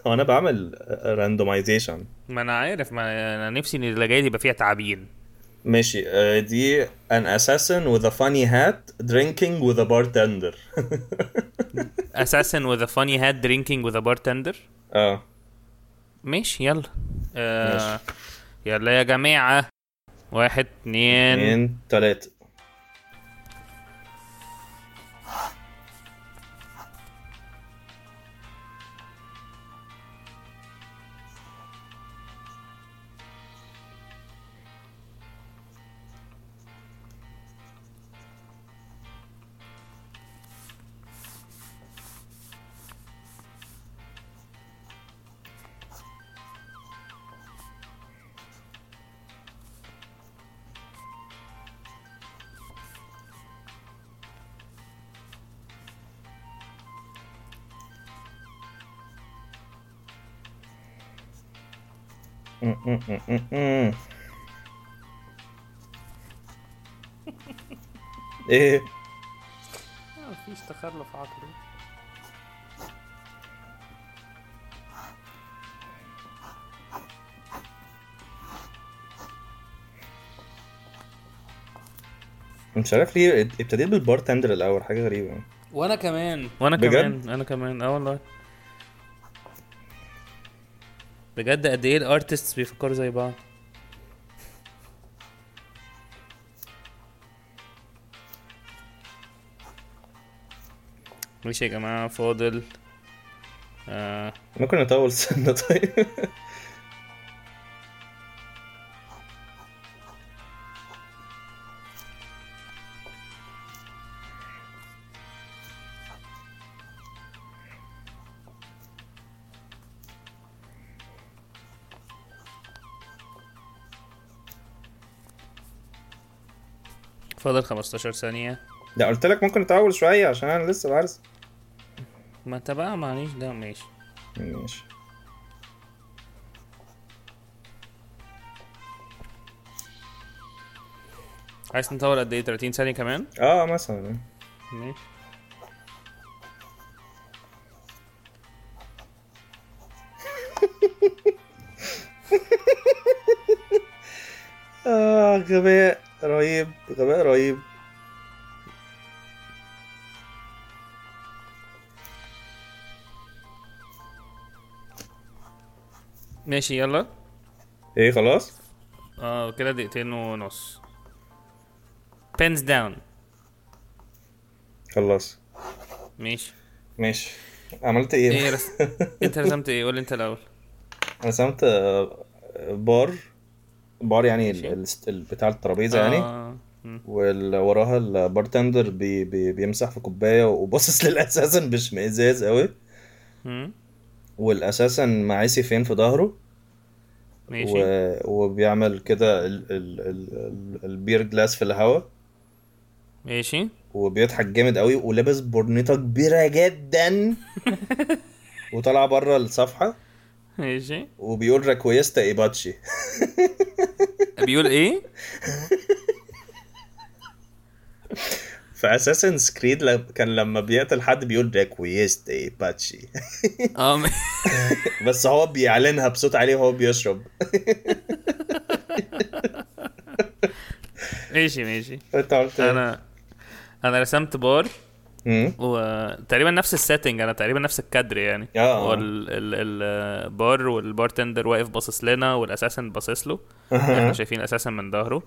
B: هو انا بعمل راندومايزيشن
A: ما انا عارف ما انا نفسي ان اللي جاي يبقى فيها تعبين
B: ماشي آه، دي an assassin with a funny hat drinking with a bartender
A: اساسا with a funny hat drinking with a bartender
B: اه
A: ماشي يلا آه يلا يا جماعه واحد اتنين
B: اتنين تلاتة م- م- م- م- م. ايه
A: مفيش تخلف عقلي
B: مش عارف ليه ابتديت بالبارتندر الاول حاجه غريبه
A: وانا كمان وانا
B: بجد؟
A: كمان انا كمان اه والله بجد قد ايه الارتستس بيفكروا زي بعض ماشي يا جماعه فاضل آه
B: ممكن نطول سنه طيب
A: فاضل 15 ثانيه
B: ده قلت لك ممكن نطول شويه عشان انا لسه بعرس
A: ما انت بقى معليش ده ماشي
B: ماشي
A: عايز نطول قد ايه 30 ثانيه كمان
B: اه مثلا
A: ماشي
B: اه غباء رهيب غباء رهيب
A: ماشي يلا
B: ايه خلاص
A: اه كده دقيقتين ونص بينز داون
B: خلاص
A: ماشي
B: ماشي عملت ايه
A: ايه رس... انت رسمت ايه قول لي انت الاول
B: رسمت آه، بار بار يعني ال- ال- ال- بتاع الترابيزه يعني
A: آه. مم.
B: وراها البارتندر بي بي بيمسح في كوبايه وباصص للاساسا باشمئزاز قوي
A: مم.
B: والاساسا معاسي فين في ظهره
A: ماشي و...
B: و... وبيعمل كده ال... ال... ال... ال- البير جلاس في الهواء
A: ماشي
B: وبيضحك جامد قوي ولابس برنيطه كبيره جدا وطالع بره الصفحه
A: ماشي
B: وبيقول ريكويستا ايباتشي
A: بيقول ايه
B: في اساسن سكريد لم... كان لما بيقتل حد بيقول ريكويست ايباتشي
A: اه م...
B: بس هو بيعلنها بصوت عالي وهو بيشرب
A: ماشي ماشي
B: انت قلت ايه؟
A: انا انا رسمت بار
B: مم.
A: وتقريبا نفس السيتنج انا تقريبا نفس الكادر يعني
B: آه.
A: هو ال- ال- البار والبارتندر واقف باصص لنا والاساسن باصص له احنا شايفين اساسا من ظهره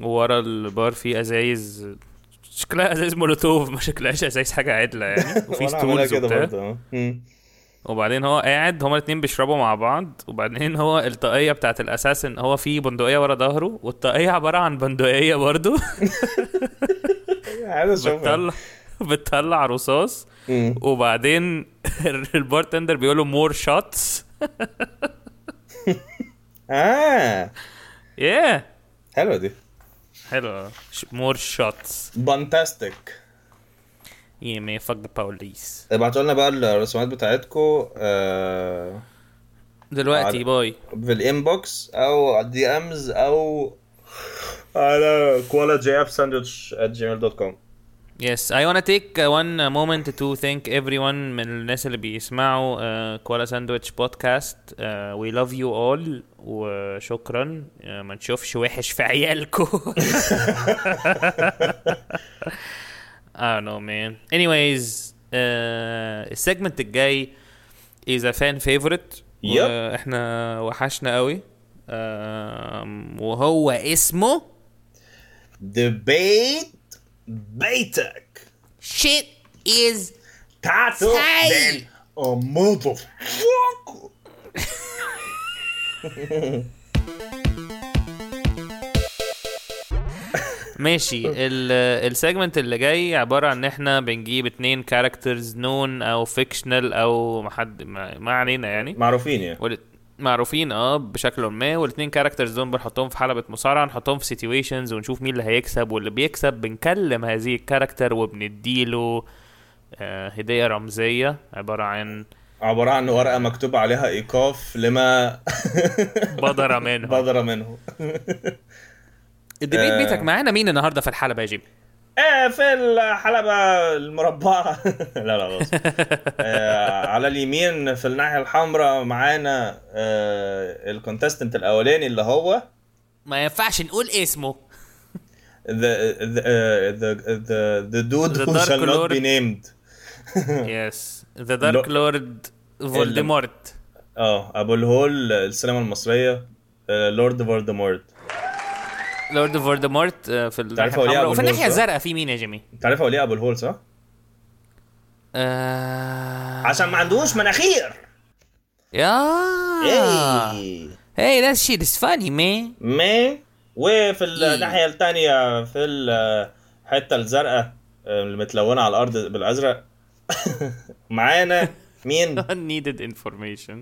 A: وورا البار في ازايز شكلها ازايز مولوتوف ما شكلهاش ازايز حاجه عدله يعني وفي
B: وأنا عملها
A: ستولز
B: كده
A: وبتاع
B: برضه اه. مم.
A: وبعدين هو قاعد هما الاتنين بيشربوا مع بعض وبعدين هو الطاقية بتاعت الأساسن هو في بندقية ورا ظهره والطاقية عبارة عن بندقية برضو
B: عايز اشوفها
A: بتطلع بتطلع رصاص
B: مم.
A: وبعدين البارتندر بيقول له مور شوتس
B: اه
A: ياه
B: حلوه دي
A: حلو مور شوتس
B: بانتاستيك
A: يا مان فك ذا بوليس
B: ابعتوا لنا بقى الرسومات بتاعتكم آه
A: دلوقتي
B: على-
A: باي
B: في الانبوكس او دي امز او على كوالا جي اف ساندويتش at gmail.com
A: Yes, I want to take uh, one uh, moment to thank everyone من الناس اللي بيسمعوا uh, كوالا ساندويتش بودكاست وي لاف يو all وشكرا uh, ما نشوفش وحش في عيالكو I don't know man anyways uh, السيجمنت الجاي is a fan favorite Uh,
B: Yep.
A: احنا وحشنا قوي آم، وهو اسمه
B: دبيت بيتك
C: Shit is
B: تعالوا
C: Hey!
B: ماذر فوك
A: ماشي السيجمنت اللي جاي عباره عن ان احنا بنجيب اتنين كاركترز نون او فيكشنال او محد ما ما علينا يعني
B: معروفين يعني
A: وال- معروفين اه بشكل ما والاتنين كاركترز دول بنحطهم في حلبة مصارعة نحطهم في سيتويشنز ونشوف مين اللي هيكسب واللي بيكسب بنكلم هذه الكاركتر وبنديله آه هدية رمزية عبارة عن
B: عبارة عن ورقة مكتوب عليها إيقاف لما
A: بدرة منهم
B: بدر منه
A: الدبيت
B: آه.
A: بيتك معانا مين النهاردة في الحلبة يا جيمي؟
B: آه في الحلبة المربعة لا لا خلاص آه على اليمين في الناحية الحمراء معانا إيه، آه الكونتستنت الأولاني اللي هو
A: ما ينفعش نقول اسمه
B: the the uh, the the, the dude
A: The
B: who
A: Dark
B: shall not
A: Lord.
B: be named
A: يس ذا دارك لورد فولدمورت
B: اه ابو الهول السينما المصريه آه، لورد فولدمورت
A: لورد فولدمورت آه، في
B: تعرف
A: الناحيه الحمراء
B: هو ليه أبو
A: وفي الناحيه
B: الهول صح؟
A: الزرقاء في مين يا جيمي؟
B: انت عارف هو ليه ابو الهول صح؟
A: آه...
B: عشان ما عندوش مناخير
A: آه.
C: يا
B: ايه
C: هي ذات شيت از فاني مان
B: ما وفي الناحيه الثانيه في الحته الزرقاء آه، المتلونه على الارض بالازرق معانا مين؟
A: unneeded information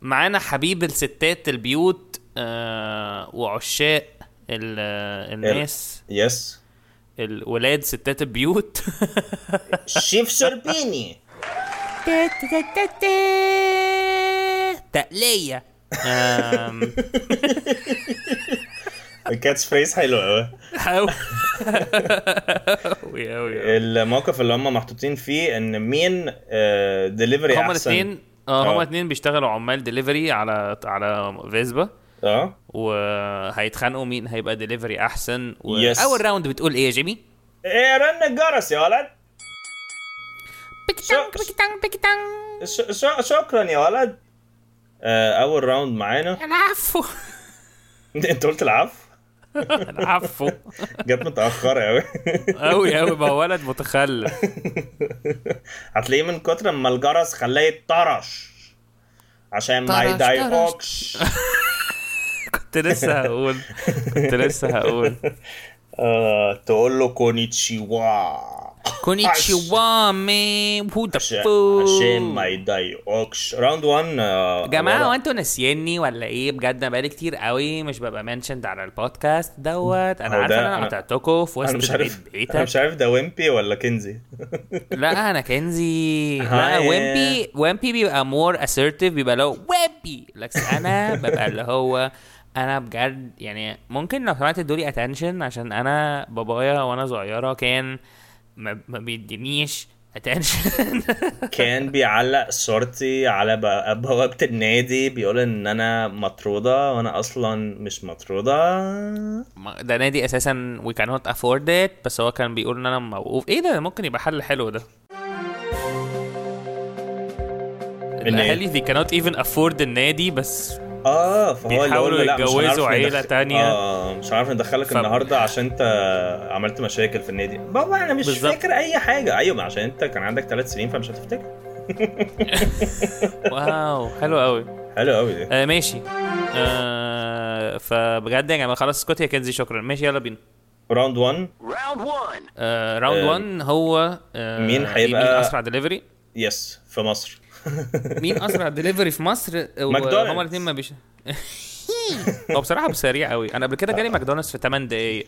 A: معانا حبيب الستات البيوت آه وعشاق ال- آه، الناس
B: يس
A: الولاد ستات البيوت
B: شيف سربيني
C: تقلية
A: آم،
B: الكاتش فريز حلو قوي
A: أو- أوي أوي
B: إيه،
A: أوي.
B: الموقف اللي هم محطوطين فيه ان مين آه، ديليفري
A: هما
B: احسن
A: الاثنين اه
B: إيه، آه.
A: هما الاثنين بيشتغلوا عمال دليفري على على فيسبا
B: اه
A: وهيتخانقوا مين هيبقى دليفري احسن و...
B: Yes.
A: اول راوند بتقول ايه يا جيمي؟
B: ايه رن الجرس يا ولد
E: Pikitang, pikitang, pikitang.
B: ش... ش... شكرا يا ولد آه اول راوند معانا
E: Alafu.
B: انت قلت العفو
A: عفو
B: جت متاخره قوي
A: قوي قوي ما هو ولد متخلف
B: هتلاقيه من كتر ما الجرس خلاه يتطرش عشان ما
E: طرش،
B: يضايقكش
A: كنت لسه هقول كنت لسه هقول
B: آه تقول له كونيتشيوا
C: كونيتشيوا مان هو ذا
B: عشان- عشان
C: فوك
B: ما يضايقكش راوند 1
C: جماعة هو انتوا ناسيني ولا
A: إيه؟
C: ايه بجد انا بقالي كتير قوي مش ببقى منشند على البودكاست دوت انا
B: هو
C: عارفه
B: ده-
C: ان انا
B: أنا-
C: قطعتكم في
B: انا مش
C: وسط
B: عارف
C: البيت
B: انا
C: بيتك
B: مش عارف ده ويمبي ولا كنزي
C: لا انا كنزي لا
B: هاي.
C: ويمبي ويمبي بيبقى مور اسيرتيف بيبقى لو ويمبي لكن انا ببقى اللي هو انا بجد يعني ممكن لو سمعت تدولي اتنشن عشان انا بابايا وانا صغيره كان ما, ما بيدينيش اتنشن
B: كان بيعلق صورتي على بو- بوابة النادي بيقول ان انا مطرودة وانا اصلا مش مطرودة
C: ده نادي اساسا وي كانوت افورد ات بس هو كان بيقول ان انا موقوف ايه ده ممكن يبقى حل حلو ده
A: الاهالي they cannot even afford النادي بس
B: اه فهو اللي
A: بيحاولوا
B: قال له لا مش هنعرف
A: يتجوزوا
B: ندخل-
A: عيلة تانية.
B: اه مش عارف ندخلك
A: ف-
B: النهارده عشان انت عملت مشاكل في النادي بابا انا مش
A: بالظبط.
B: فاكر اي حاجه ايوه ما عشان انت كان عندك ثلاث سنين فمش هتفتكر
A: واو حلو قوي
B: حلو قوي دي
A: آه ماشي آه فبجد يا جماعه خلاص اسكت يا كنزي شكرا ماشي يلا بينا
B: راوند 1
A: آه راوند 1
B: آه،
A: هو آه
B: مين هيبقى-
A: مين اسرع دليفري
B: يس في مصر
A: مين اسرع ديليفري في مصر
B: ماكدونالدز.
A: هما الاثنين ما بيش هو بصراحه سريع قوي انا قبل كده جالي ماكدونالدز في 8 دقايق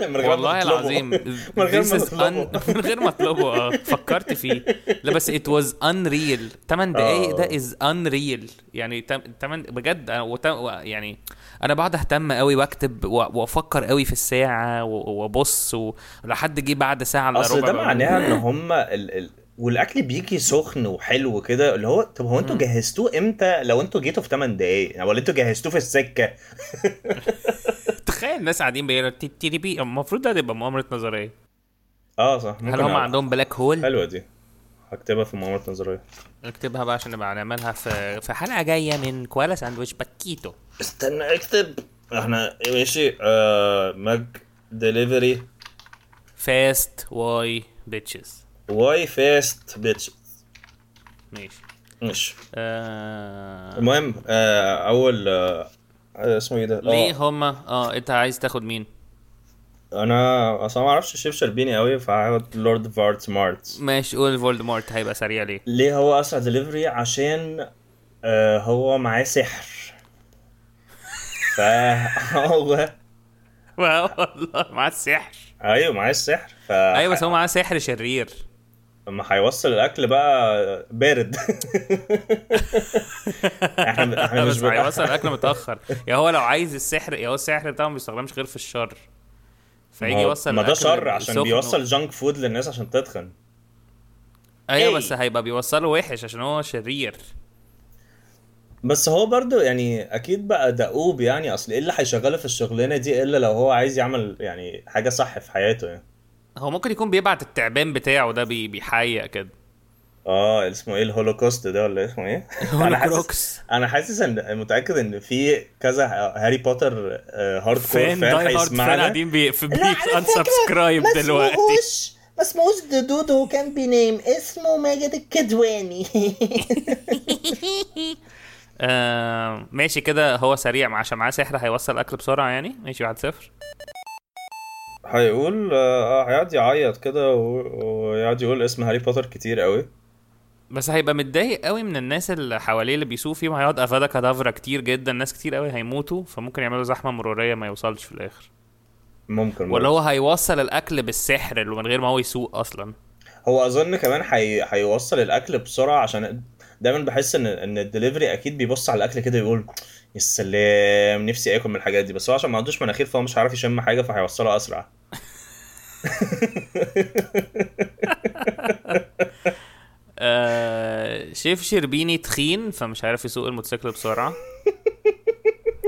B: من غير ما
A: والله
B: تطلبه.
A: العظيم
B: من غير
A: This
B: ما
A: is
B: تطلبه.
A: un- من غير ما اطلبه اه فكرت فيه لا بس ات واز انريل 8 دقايق
B: آه.
A: ده از انريل يعني 8 بجد أنا وت- و- يعني انا بقعد اهتم قوي واكتب و- وافكر قوي في الساعه و- وابص و- لحد جه بعد ساعه الا
B: اصل
A: ربع
B: ده
A: بقول-
B: معناها ان هم ال... ال... والاكل بيجي سخن وحلو كده اللي هو طب هو انتوا جهزتوه امتى لو انتوا جيتوا في 8 دقايق ولا انتوا جهزتوه في السكه
A: تخيل الناس قاعدين بيقولوا تي- تي- تي- بي المفروض ده تبقى مؤامره نظريه
B: اه صح
A: هل هم عندهم بلاك هول
B: حلوه دي هكتبها في مؤامره نظريه
A: اكتبها بقى عشان نبقى نعملها في في حلقه جايه من كوالا ساندويتش باكيتو
B: استنى اكتب احنا ماشي آه ماك ديليفري
A: فاست واي بيتشز
B: واي فاست بيتش
A: ماشي
B: ماشي
A: آه...
B: المهم آه اول آه آه، اسمه ايه ده؟
A: ليه
B: آه،
A: هما اه انت عايز تاخد مين
B: انا اصلا ما اعرفش شيف شربيني قوي فهقعد لورد فارت مارتس
A: ماشي قول فولدمورت هيبقى سريع ليه
B: ليه هو اسرع دليفري عشان آه هو معاه سحر فهو
A: والله معاه السحر
B: ايوه معاه السحر ف
A: ايوه بس هو معاه سحر شرير
B: ما هيوصل الاكل بقى بارد احنا احنا مش
A: بس
B: بن-
A: هيوصل الاكل متاخر يا هو لو عايز السحر يا هو السحر بتاعه ما بيستخدمش غير في الشر فيجي
B: ما هو-
A: يوصل
B: ما ده
A: الأكل
B: شر عشان
A: سخن.
B: بيوصل جانك فود للناس عشان تتخن
A: ايوه
B: إيه.
A: بس هيبقى بيوصله وحش عشان هو شرير
B: بس هو برضو يعني اكيد بقى دؤوب يعني اصل ايه اللي هيشغله في الشغلانه دي الا لو هو عايز يعمل يعني حاجه صح في حياته يعني
A: هو ممكن يكون بيبعت التعبان بتاعه ده بي- بيحيق كده
B: اه اسمه ايه الهولوكوست ده ولا اسمه ايه؟ انا حاسس
A: هولوكروكس.
B: انا حاسس ان متاكد ان في كذا هاري بوتر آه، هارد كور
C: فين
B: فان
C: داي هارد فان
B: هيسمعنا
C: قاعدين بي في بيت انسبسكرايب دلوقتي
F: اسمهوش ما اسمهوش دودو هو كان بينام اسمه ماجد الكدواني
A: آه ماشي كده هو سريع عشان معاه سحر هيوصل اكل بسرعه يعني ماشي 1 0
B: هيقول اه آه، هيقعد يعيط كده و- ويقعد يقول اسم هاري بوتر كتير قوي
A: بس هيبقى متضايق قوي من الناس اللي حواليه اللي بيسوق فيهم هيقعد افادا كدافرا كتير جدا ناس كتير قوي هيموتوا فممكن يعملوا زحمه مروريه ما يوصلش في الاخر
B: ممكن
A: ولا هو هيوصل الاكل بالسحر اللي من غير ما هو يسوق اصلا
B: هو اظن كمان حي... هيوصل الاكل بسرعه عشان دايما بحس ان ان الدليفري اكيد بيبص على الاكل كده يقول يا سلام نفسي اكل من الحاجات دي بس هو عشان ما عندوش مناخير فهو مش عارف يشم حاجه فهيوصلها اسرع
A: آه شيف شربيني تخين فمش عارف يسوق الموتوسيكل بسرعه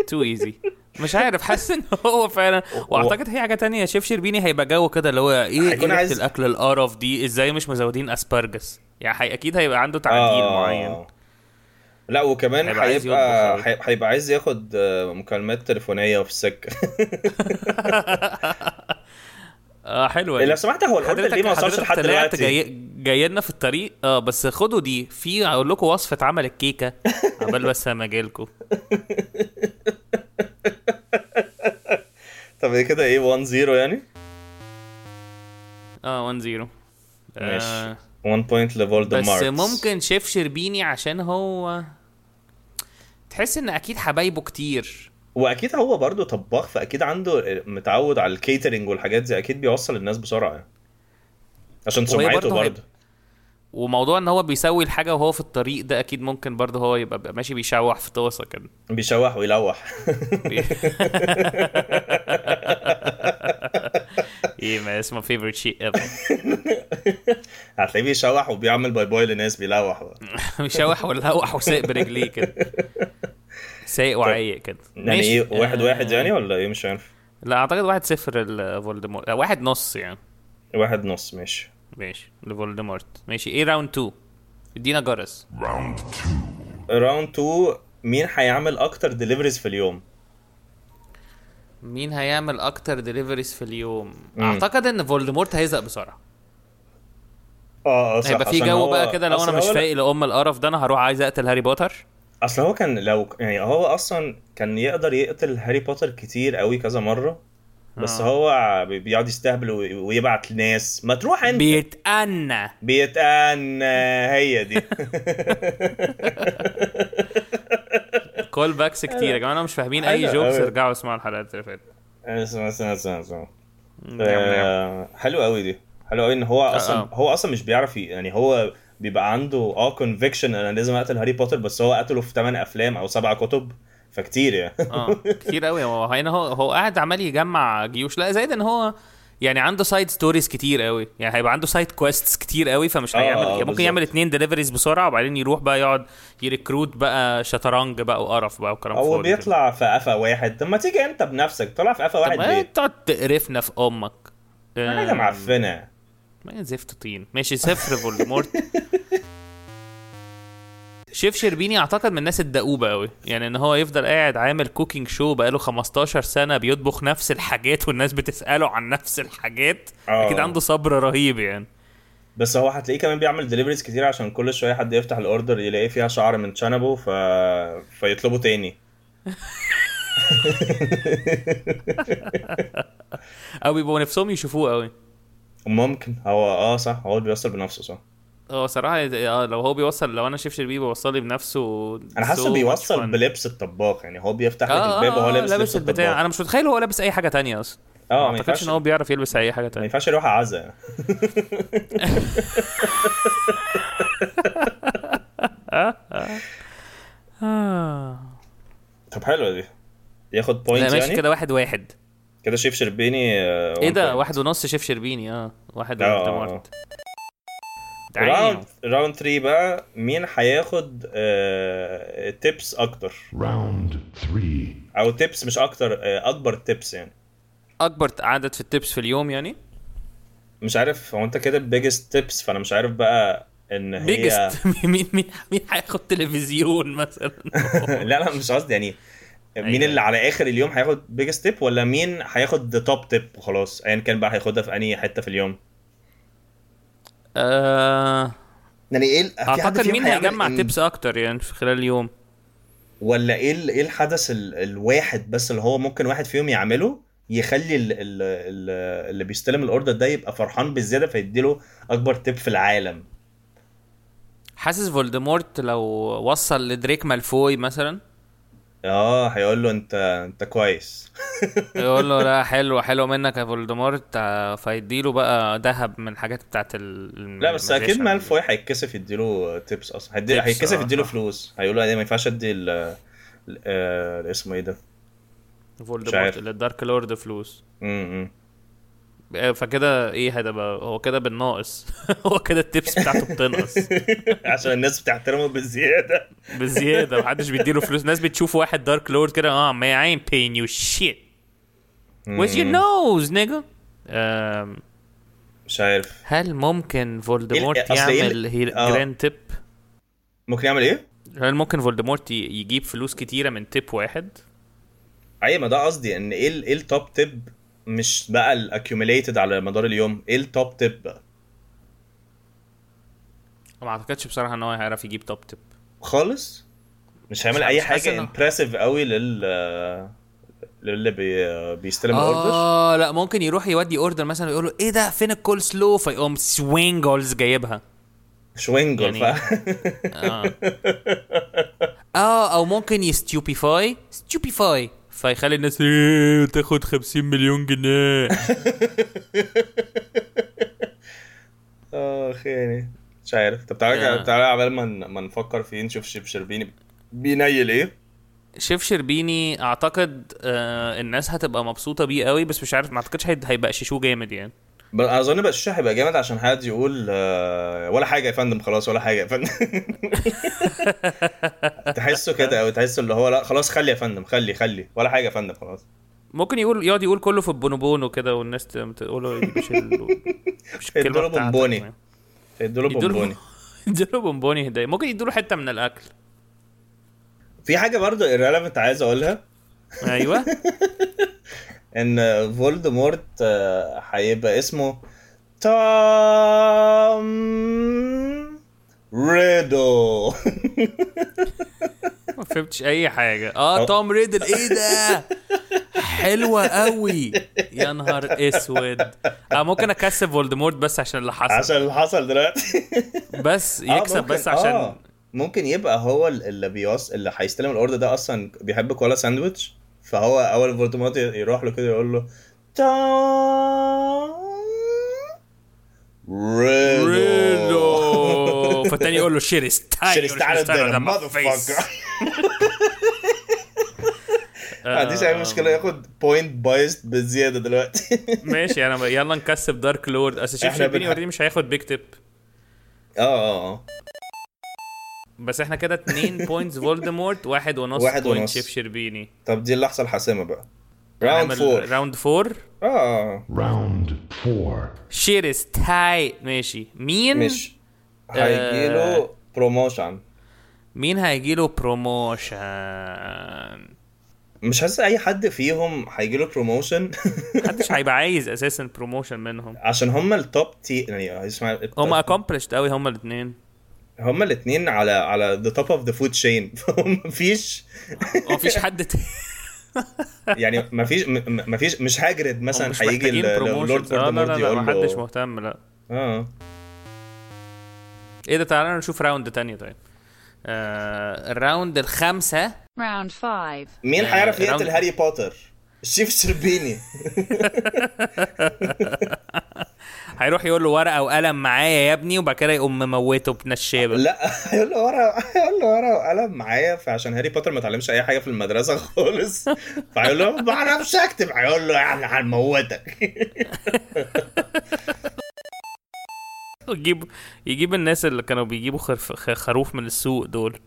A: تو ايزي مش عارف حاسس ان هو فعلا واعتقد هي حاجه تانية شيف شربيني هيبقى جو كده اللي هو ايه ايه
B: هيكون
A: ريحة
B: عايز-
A: الاكل القرف دي ازاي مش مزودين اسبرجس يعني حي... اكيد هيبقى عنده تعديل
B: آه.
A: معين
B: لا وكمان
A: هيبقى عايز
B: هيبقى
A: يطبخ أوي.
B: هي- هيبقى عايز ياخد آه، مكالمات تليفونيه في السكه
A: اه حلوه دي.
B: لو سمحت هو الاوردر ليه ما
A: حضرتك
B: وصلش لحد
A: طلعت
B: دلوقتي
A: جاي جاي لنا في الطريق اه بس خدوا دي في اقول لكم وصفه عمل الكيكه عبال بس اما اجيلكوا
B: طب إيه كده ايه 1 0 يعني
A: اه 1 0 آه،
B: ماشي 1 بوينت
A: بس
B: لفولدمارت
A: ممكن شيف شربيني عشان هو تحس ان اكيد حبايبه كتير
B: واكيد هو برضه طباخ فاكيد عنده متعود على الكيترنج والحاجات دي اكيد بيوصل الناس بسرعه يعني. عشان
A: وهي
B: سمعته
A: برضه
B: برضه
A: وموضوع ان هو بيسوي الحاجه وهو في الطريق ده اكيد ممكن برضه هو يبقى بيبقى ماشي بيشوح في طاسه كده
B: بيشوح ويلوح
A: ايه ما اسمه فيفرت شيء ever.
B: هتلاقيه بيشوح وبيعمل باي باي لناس بيلوح يعني بقى.
A: بيشوح ولوح وسايق برجليه كده سايق وعايق كده
B: طيب. يعني
A: ماشي.
B: ايه واحد
A: آه،
B: واحد يعني ولا ايه مش عارف
A: لا اعتقد واحد صفر لفولدمورت آه، واحد نص يعني
B: واحد نص ماشي
A: ماشي لفولدمورت ماشي ايه راوند 2 ادينا جرس
B: راوند 2 مين هيعمل اكتر ديليفريز في اليوم
A: مين هيعمل اكتر ديليفريز في اليوم اعتقد ان فولدمورت هيزق بسرعه
B: اه اه صح
A: هيبقى في
B: عشان
A: جو
B: هو-
A: بقى كده لو
B: أصل
A: انا مش
B: هو-
A: فايق لام القرف ده انا هروح عايز اقتل هاري بوتر
B: اصل هو كان لو يعني هو اصلا كان يقدر يقتل هاري بوتر كتير قوي كذا مره بس آه. هو بي- بيقعد يستهبل وي- ويبعت لناس ما تروح انت
A: بيتأنى
B: بيتقن هي دي
A: كول باكس كتير يا جماعه انا مش فاهمين اي
B: حلو
A: جوكس
B: أوي.
A: ارجعوا اسمعوا الحلقات اللي فاتت
B: اسمع اسمع اسمع اسمع
A: نعم.
B: آه، حلو قوي دي حلو قوي ان هو اصلا
A: آه.
B: هو اصلا مش بيعرف ي- يعني هو بيبقى عنده اه كونفكشن انا لازم اقتل هاري بوتر بس هو قتله في 8 افلام او 7 كتب فكتير يعني
A: اه كتير قوي هو هنا هو هو قاعد عمال يجمع جيوش لا زائد ان هو يعني عنده سايد ستوريز كتير قوي يعني هيبقى عنده سايد كويستس كتير قوي فمش
B: آه،
A: هيعمل
B: آه،
A: يعني
B: بالظبط.
A: ممكن يعمل اتنين ديليفريز بسرعه وبعدين يروح بقى يقعد يريكروت بقى شطرنج بقى وقرف بقى وكلام
B: هو
A: فاضي كده.
B: بيطلع في قفا واحد طب ما تيجي انت بنفسك طلع في قفا
A: طب
B: واحد
A: ما
B: ليه؟
A: تقعد تقرفنا في امك
B: حاجه
A: آه،
B: معفنه
A: ما زفت طين ماشي صفر فولدمورت شيف شربيني اعتقد من الناس الدؤوبه قوي يعني ان هو يفضل قاعد عامل كوكينج شو بقاله 15 سنه بيطبخ نفس الحاجات والناس بتساله عن نفس الحاجات
B: آه.
A: اكيد عنده صبر رهيب يعني
B: بس هو هتلاقيه كمان بيعمل دليفريز كتير عشان كل شويه حد يفتح الاوردر يلاقي فيها شعر من شانبو ف... فيطلبه تاني
A: او بيبقوا نفسهم يشوفوه قوي
B: ممكن هو اه صح هو اللي بيوصل بنفسه صح
A: هو صراحه اه لو هو بيوصل لو انا شيف شربيني بيوصل لي بنفسه
B: انا
A: so much
B: حاسه بيوصل
A: fun.
B: بلبس الطباخ يعني هو بيفتح لك
A: اه
B: الباب وهو
A: اه آه،
B: لابس
A: لابس
B: لبس
A: البتاع
B: الطباخ
A: انا مش متخيل هو لابس اي حاجه تانية اصلا
B: اه
A: ما
B: ما
A: اعتقدش
B: ينفعش
A: ان هو بيعرف يلبس اي حاجه
B: ما
A: تانية
B: ينفعش يروح عزا
A: آه.
B: طب حلوه دي ياخد
A: لا
B: بوينت
A: ماشي
B: يعني
A: كده إيه واحد واحد
B: كده شيف شربيني آه،
A: ايه ده واحد ونص شيف شربيني اه واحد
B: اه
A: وانت مرت تعالوا
B: راوند 3 بقى مين هياخد آه، تيبس اكتر
G: Round three.
B: او تيبس مش اكتر آه، اكبر تيبس يعني
H: اكبر عدد في التبس في اليوم يعني
B: مش عارف هو انت كده بيجست تيبس فانا مش عارف بقى ان هي
H: بيجست مين مين مين هياخد تلفزيون مثلا
B: لا لا مش قصدي يعني
H: أيوة.
B: مين اللي على اخر اليوم هياخد بيجست تيب ولا مين هياخد ذا توب تيب وخلاص ايا كان بقى هياخدها في انهي حته في اليوم
H: آه،
B: يعني ايه ال- في حد
H: اعتقد
B: فيهم
H: مين
B: هيعمل إيه؟
H: هيجمع
B: إن-
H: تبس اكتر يعني في خلال اليوم
B: ولا ايه ال- ايه الحدث ال... الواحد بس اللي هو ممكن واحد فيهم يعمله يخلي ال... ال... ال... اللي بيستلم الاوردر ده يبقى فرحان بالزياده فيديله اكبر تيب في العالم
H: حاسس فولدمورت لو وصل لدريك مالفوي مثلا
B: اه هيقول له انت انت كويس
H: يقول له لا حلو حلو منك يا فولدمورت آه، فيديله بقى ذهب من الحاجات بتاعت ال
B: لا بس اكيد
H: الماجيشن.
B: مالفوي هيتكسف يديله تيبس اصلا هيدي...
H: tips،
B: هيتكسف
H: آه،
B: يديله
H: آه.
B: فلوس هيقول له "إيه، ما ينفعش ادي ال... ال- آه، اسمه ايه ده مش
A: فولدمورت
B: عارف.
A: اللي الدارك لورد فلوس
B: امم
A: آه، فكده ايه هتبقى هو كده بالناقص هو كده التبس بتاعته بتنقص
B: عشان الناس بتحترمه بزياده
A: بزياده محدش بيديله فلوس ناس بتشوف واحد دارك لورد كده اه man I ain't paying you shit with your nose nigga آم،
B: مش عارف
H: هل ممكن
B: إيه-
H: فولدمورت
B: أصل إيه
H: يعمل
B: اللي-
H: هي
B: آه.
H: جراند تيب
B: ممكن يعمل ايه؟
A: هل ممكن فولدمورت ي- يجيب فلوس كتيره من تيب واحد
B: ايوه ما ده قصدي ان ايه ال- ايه التوب تيب مش بقى الاكيوميليتد على مدار اليوم ايه التوب تيب بقى
A: ما اعتقدش بصراحه ان هو هيعرف يجيب توب تيب
B: خالص مش هعمل
H: مش-
B: اي
H: مش حاسس
B: حاجه
H: إنه-
B: امبرسيف قوي لل للي بي... بيستلم الاوردر
H: اه لا ممكن يروح يودي اوردر مثلا ويقول له ايه ده فين الكول سلو فيقوم سوينجلز جايبها
B: شوينجل
A: يعني-
B: ف...
A: آه،
H: اه او ممكن يستيوبيفاي ستيوبيفاي
A: فيخلي الناس ايه تاخد 50 مليون جنيه
B: اخ يعني مش عارف طب تعالى
H: آه.
B: تعالى عبال ما ن- ما نفكر فيه نشوف شيف شربيني بينيل ايه
A: شيف شربيني اعتقد آه الناس هتبقى مبسوطه بيه قوي بس مش عارف ما اعتقدش هيد- هيبقى شيشوه جامد يعني
B: بس اظن بقى الشيشه هيبقى جامد عشان حد يقول آه، ولا حاجه يا فندم خلاص ولا حاجه يا فندم تحسه كده او تحسه اللي هو لا خلاص خلي يا فندم خلي خلي ولا حاجه يا فندم خلاص
A: ممكن يقول يقعد يقول كله في البونوبونو كده والناس ت- تقول له مش ال... مش
B: ادوله
A: الكلمه
B: بونبوني.
A: بتاعتك يعني.
B: ادوله
A: يدوله-
B: بونبوني
A: ادوله بونبوني هدايا ممكن يدوله حته من الاكل
B: في حاجه برضه irrelevant عايز اقولها
A: ايوه
B: ان فولدمورت آه، هيبقى اسمه توم ريدو
A: ما فهمتش اي حاجه
H: اه
A: اه
H: توم ريدل ايه ده حلوه قوي
A: يا نهار اسود اه ممكن اكسب فولدمورت بس عشان اللي حصل
B: عشان اللي حصل دلوقتي
A: بس
B: آه،
A: يكسب
B: ممكن-
A: بس عشان
B: آه، ممكن يبقى هو ال- اللي بيوص اللي هيستلم الاوردر ده اصلا بيحب كولا ساندويتش فهو اول فولدمورت ي- يروح له كده يقول له توم ريدو
A: ريلو فالتاني يقول له شير ستايل
B: عشان يستعرض ده مotherfucker. ما عنديش اي مشكله
A: آه.
B: ياخد بوينت بايست بزياده دلوقتي
A: ماشي انا يلا نكسب دارك لورد اصل شيف
B: إحنا
A: شربيني
B: بنح-
A: اوريدي مش هياخد بيج تيب
B: اه اه اه
A: بس احنا كده 2 بوينتس فولدمورت واحد ونص
B: واحد
A: بوينت
B: ونص.
A: شيف شربيني
B: طب دي اللحظه الحاسمه بقى
A: يعني
B: راوند فور اه
A: راوند فور
B: آه.
G: Round four.
A: شير ستايل ماشي مين
B: مش
A: آه.
B: هيجيله بروموشن
A: مين هيجيله بروموشن
B: مش حاسس اي حد فيهم هيجيله بروموشن
A: محدش هيبقى عايز اساسا بروموشن منهم
B: عشان هما التوب تي يعني اسمع
A: هم اكومبلشت قوي هم الاثنين
B: هما الاثنين على على ذا توب اوف ذا فود تشين فمفيش
A: مفيش حد تاني
B: يعني مفيش م- م- مفيش مش هاجرد
A: هم
B: مثلا
A: مش
B: هيجي
A: محتاجين
B: اللورد
A: بروموشن لا لا
B: فولدمورت
A: لا
B: يقول
A: محدش
B: له آه.
A: مهتم لا
B: اه
A: ايه ده تعالى نشوف راوند تانية طيب
H: آه الراوند الخامسه
I: Round 5.
B: مين هيعرف
H: آه،
B: يقتل
H: round-
B: هاري بوتر؟ الشيف شربيني
A: هيروح يقول له ورقه وقلم معايا يا ابني وبعد كده يقوم مموته بنشابه
B: لا هيقول له ورقه هيقول له ورقه وقلم معايا فعشان هاري بوتر ما اتعلمش اي حاجه في المدرسه خالص فهيقول له ما اعرفش اكتب يعني هيقول له احنا هنموتك
A: يجيب يجيب الناس اللي كانوا بيجيبوا خرف خ- خروف من السوق دول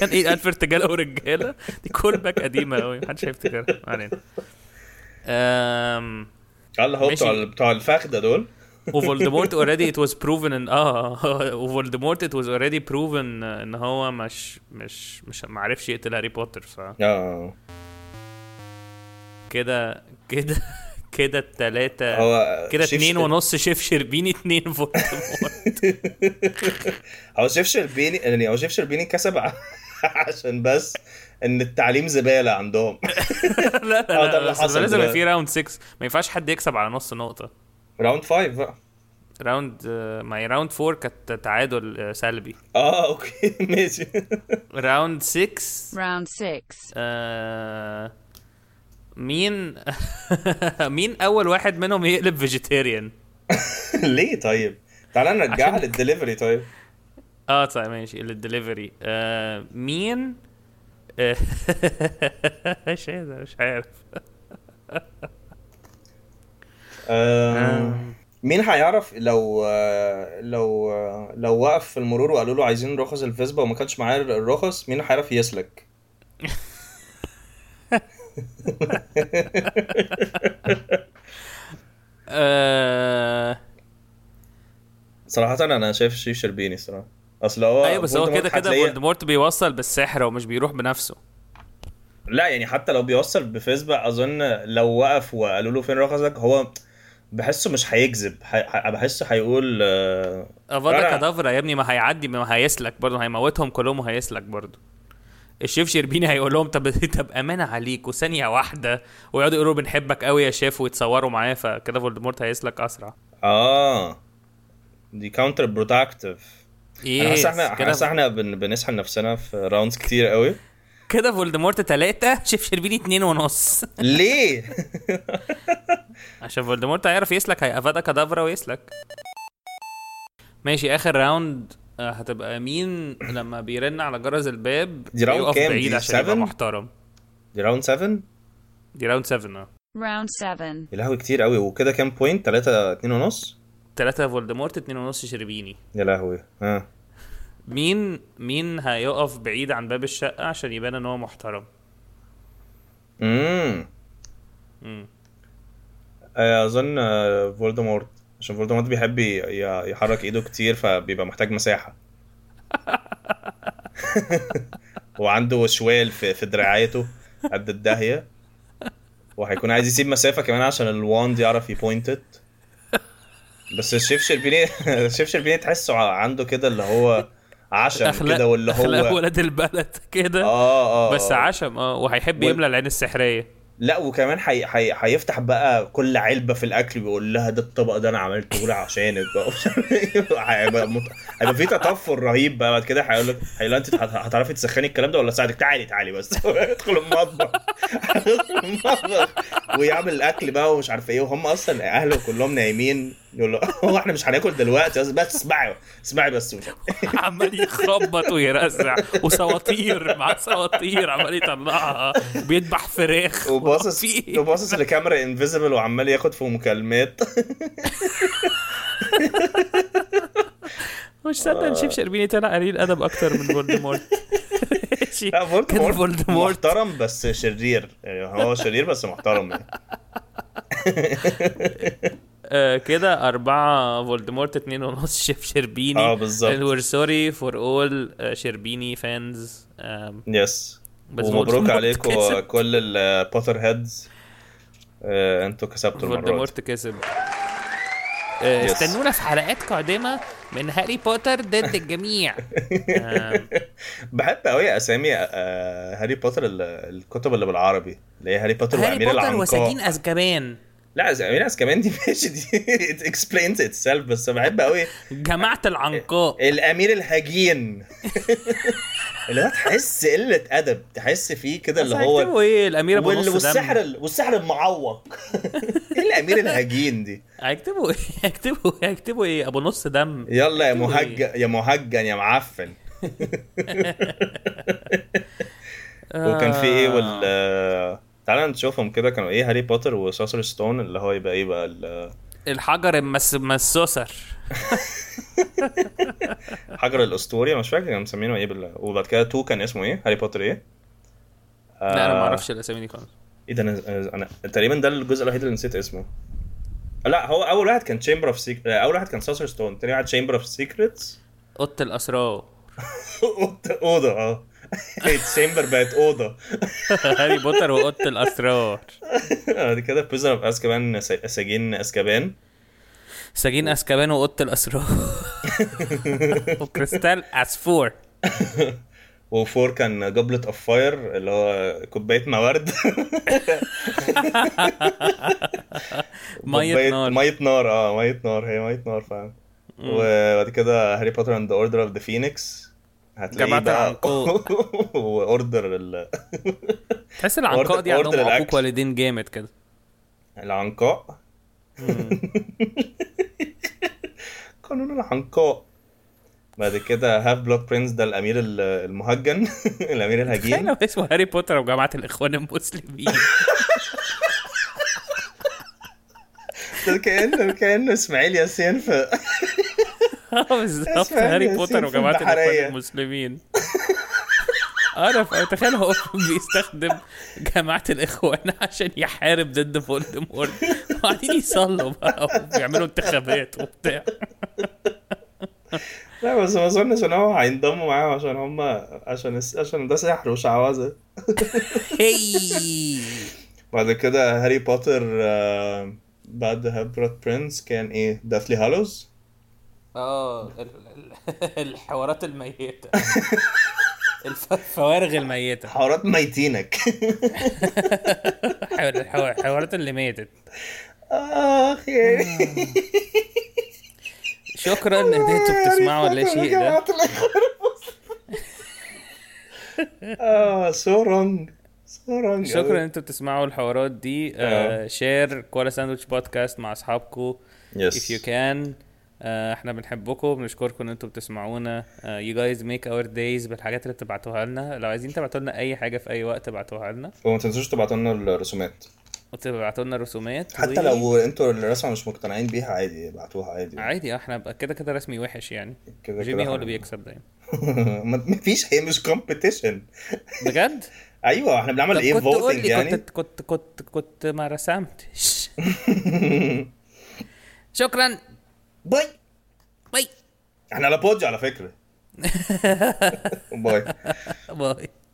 A: كان ايه الف ارتجال ورجاله دي كول باك قديمه قوي محدش هيفتكرها ما علينا أم...
B: قال هو
A: ماشي.
B: بتوع ال- بتوع الفخده دول
A: وفولدمورت already it was proven ان اه وفولدمورت it was already proven ان هو مش مش مش ما عرفش يقتل هاري بوتر
B: اه
A: فكده كده كده التلاتة
B: هو
A: كده
B: شيف-
A: اتنين ونص شيف شربيني اتنين فولدمورت
B: هو شيف شربيني يعني هو شيف شربيني كسب ع- عشان بس ان التعليم زباله عندهم
A: لا
B: آه،
A: لا
B: ده اللي
A: لا بس
B: حصل
A: لازم يبقى
B: دلوقتي.
A: في راوند 6 ما ينفعش حد يكسب على نص نقطة
B: راوند فايف بقى
A: راوند آه، ما هي راوند 4 كانت تعادل آه، سلبي
B: اه اوكي ماشي
A: راوند 6
I: Round 6.
A: آه مين مين اول واحد منهم يقلب فيجيتيريان
B: ليه طيب تعالى نرجعها
A: عشان-
B: للدليفري طيب
A: اه طيب ماشي للدليفري آه مين آه، ايش هذا مش عارف
B: آم، مين هيعرف لو آه، لو آه، لو وقف في المرور وقالوا له عايزين رخص الفيسبا وما كانش معاه الرخص مين هيعرف يسلك
A: آه
B: صراحة أنا شايف شيف شربيني الصراحة أصل هو
A: ايوه بس هو
B: فولدمورت
A: كده كده
B: هتلاقيه-
A: فولدمورت بيوصل بالسحر ومش بيروح بنفسه
B: لا يعني حتى لو بيوصل بفيسبا أظن لو وقف وقالوا له فين رخصك هو بحسه مش هيكذب ح- ح- بحسه هيقول آه،
A: افادا
B: لا.
A: كدافرا يا ابني ما هيعدي ما هيسلك برضه هيموتهم كلهم وهيسلك برضه الشيف شربيني هيقول لهم طب طب امانه عليكوا ثانيه واحده ويقعدوا يقولوا بنحبك قوي يا شيف ويتصوروا معاه فكده فولدمورت هيسلك اسرع
B: آه دي كاونتر برودكتيف انا حاسس
A: ايه
B: احنا حاسس
A: كده
B: احنا بن- بنسحل نفسنا في راوندز كتير قوي
A: كده فولدمورت ثلاثة شيف شربيني اتنين ونص
B: ليه؟
A: عشان فولدمورت هيعرف يسلك هيأفادا كدافرا ويسلك ماشي اخر راوند آه، هتبقى مين لما بيرن على جرس الباب
B: دي راوند
A: بيقف
B: كام؟
A: بعيد
B: دي
A: عشان يبقى
B: seven؟
A: محترم
B: دي راوند 7
A: دي راوند 7 اه
I: Round 7.
B: يا لهوي كتير قوي وكده كام بوينت 3 2 ونص
A: تلاتة فولدمورت اتنين ونص شربيني
B: يا لهوي ها
A: مين مين هيقف بعيد عن باب الشقة عشان يبان ان هو محترم
B: امم آه، اظن آه، فولدمورت عشان فولدمورت بيحب ي- ي- يحرك ايده كتير فبيبقى محتاج مساحة وعنده شوال في في دراعاته قد الداهية وهيكون عايز يسيب مسافة كمان عشان الواند يعرف يبوينتت بس الشيف شربيني الشيف شربيني تحسه عنده كده اللي هو عشم
A: اخلاق
B: كده واللي
A: اخلاق
B: هو
A: ولد البلد كده
B: اه اه
A: بس
B: آه.
A: عشم اه وهيحب
B: وال-
A: يملى العين السحريه
B: لا وكمان حي... حي... هيفتح بقى كل علبه في الاكل ويقول لها ده الطبق ده انا عملته لها عشانك بقى ومش عارف إيه. هيبقى مت... هيبقى في تطفل رهيب بقى بعد كده هيقول لك هيقول لها انت هت- هتعرفي تسخني الكلام ده ولا ساعدك تعالي تعالي بس ادخل المطبخ هيدخل المطبخ ويعمل الاكل بقى ومش عارف ايه وهم اصلا اهله كلهم نايمين يقول له هو احنا مش هناكل دلوقتي بس اسمعي اسمعي بس ومش عارف إيه.
A: عمال يخبط ويرزع وسواطير مع سواطير عمال يطلعها بيذبح فراخ
B: وباصص
A: في إيه؟
B: وباصص لكاميرا انفيزبل وعمال ياخد في مكالمات
A: مش صدق
B: آه.
A: نشيف شربيني طلع قليل ادب اكتر من فولدمورت ماشي.
B: لا
A: كان
B: فولدمورت
A: فولدمورت
B: محترم بس شرير يعني هو شرير بس محترم يعني
A: آه، كده أربعة فولدمورت اتنين ونص شيف شربيني
B: آه، بالظبط.
A: and we're sorry for all آه، شربيني فانز
B: يس
A: بس
B: ومبروك
A: فولدمورت
B: عليكم
A: كسب.
B: كل البوتر هيدز آه، انتوا كسبتوا المره دي
A: فولدمورت كسب آه،
B: Yes.
A: استنونا في حلقات قادمة من هاري بوتر ضد الجميع آه.
B: بحب قوي اسامي آه، هاري بوتر ال- الكتب اللي بالعربي اللي هي هاري بوتر
A: هاري
B: وامير
A: بوتر
B: العنقاء
A: وسجين أزكبان
B: لا ز- امير كمان دي ماشي دي it explains itself بس بحب قوي
A: جماعة العنقاء
B: الامير الهجين اللي هو تحس قله ادب تحس فيه كده اللي هو
A: هيكتبوا ايه الأميرة
B: وال-
A: بنص
B: والسحر
A: دم
B: ال- والسحر المعوق ايه الامير الهجين دي
A: هيكتبوا ايه هيكتبوا هيكتبوا ايه أبو نص دم
B: يلا يا
A: بتقول إيه؟
B: مهجن يا مهجن يا معفن وكان في
A: آه.
B: ايه وال تعالى نشوفهم كده كانوا ايه هاري بوتر إيه وساسر ستون اللي هو يبقى ايه بقى ال-
A: الحجر المس... مسوسر
B: حجر الاسطوري أنا مش فاكر كانوا مسمينه ايه بال... وبعد كده 2 كان اسمه ايه هاري بوتر ايه
A: لا انا ما
B: آه،
A: اعرفش الاسامي دي خالص
B: ايه ده انا انا تقريبا ده الجزء الوحيد اللي نسيت اسمه لا هو اول واحد كان تشامبر اوف سيك... اول آه، واحد كان ساسر ستون تاني واحد تشامبر اوف سيكريتس
A: اوضه الاسرار
B: اوضه اه تشامبر بقت اوضه
A: هاري بوتر واوضه الاسرار
B: بعد كده بيزر اوف اسكابان س- سجين اسكابان
A: سجين اسكابان واوضه الاسرار وكريستال عصفور
B: وفور كان جبلة اوف فاير اللي هو كوبايه موارد
A: ميه
B: كوباية-
A: نار
B: ميه نار اه ميه نار هي ميه نار فعلا وبعد كده هاري بوتر اند اوردر اوف ذا فينيكس هتلاقيه
A: جماعة
B: بقى
A: العنقود.
B: واوردر ال...
A: تحس العنقاء
B: أوردر-
A: دي
B: أوردر
A: عندهم عقوق
B: الأكل.
A: والدين جامد كده
B: العنقاء قانون العنقاء بعد كده هاف بلاد برنس ده الامير ال- المهجن الامير
A: كان لو
B: الهجين
A: اسمه هاري بوتر وجماعه الاخوان المسلمين
B: ده كانه كانه اسماعيل ياسين في
A: اه بالظبط
B: اسمع
A: هاري
B: ياسين
A: بوتر
B: في
A: وجماعه الاخوان
B: البحرية.
A: المسلمين انا ف- تخيل هو بيستخدم جماعه الاخوان عشان يحارب ضد فولدمورت وبعدين يصلوا بقى وبيعملوا انتخابات وبتاع
B: لا بس ما اظنش ان هو هينضموا معاهم عشان هم عشان عشان ده سحر وشعوذه
C: هي
B: بعد كده هاري بوتر آه، بعد هابرت برنس كان ايه دافلي هالوز
A: اه الحوارات الميته الفوارغ الميته
B: حوارات ميتينك
A: الحوارات اللي ماتت
B: اخ
A: آه.
B: يا
A: شكرا ان انتوا بتسمعوا ولا شيء ده
B: اه سورونج سورونج
A: شكرا ان انتوا بتسمعوا الحوارات دي آه شير كولا ساندويتش بودكاست مع اصحابكم اف يو
B: يس
A: كان احنا آه، بنحبكم بنشكركم ان انتوا بتسمعونا آه، يو جايز ميك اور دايز بالحاجات اللي بتبعتوها لنا لو عايزين تبعتوا لنا اي حاجه في اي وقت ابعتوها لنا
B: وما تنسوش تبعتوا لنا الرسومات
A: وتبعتوا لنا رسومات
B: حتى
A: و-
B: لو انتوا الرسمه مش مقتنعين بيها عادي ابعتوها عادي
A: طيب. عادي آه، احنا بقى كده كده رسمي وحش يعني
B: كده
A: جيمي هو اللي
B: بيكسب
A: بيكسب دايما
B: مفيش هي مش كومبيتيشن
A: بجد
B: ايوه احنا بنعمل
A: طب
B: ايه
A: كنت قول
B: فوتنج
A: لي
B: يعني
A: كنت كنت كنت كنت ما رسمتش
C: شكرا
B: باي
C: باي
B: احنا على بودج على فكره باي
A: باي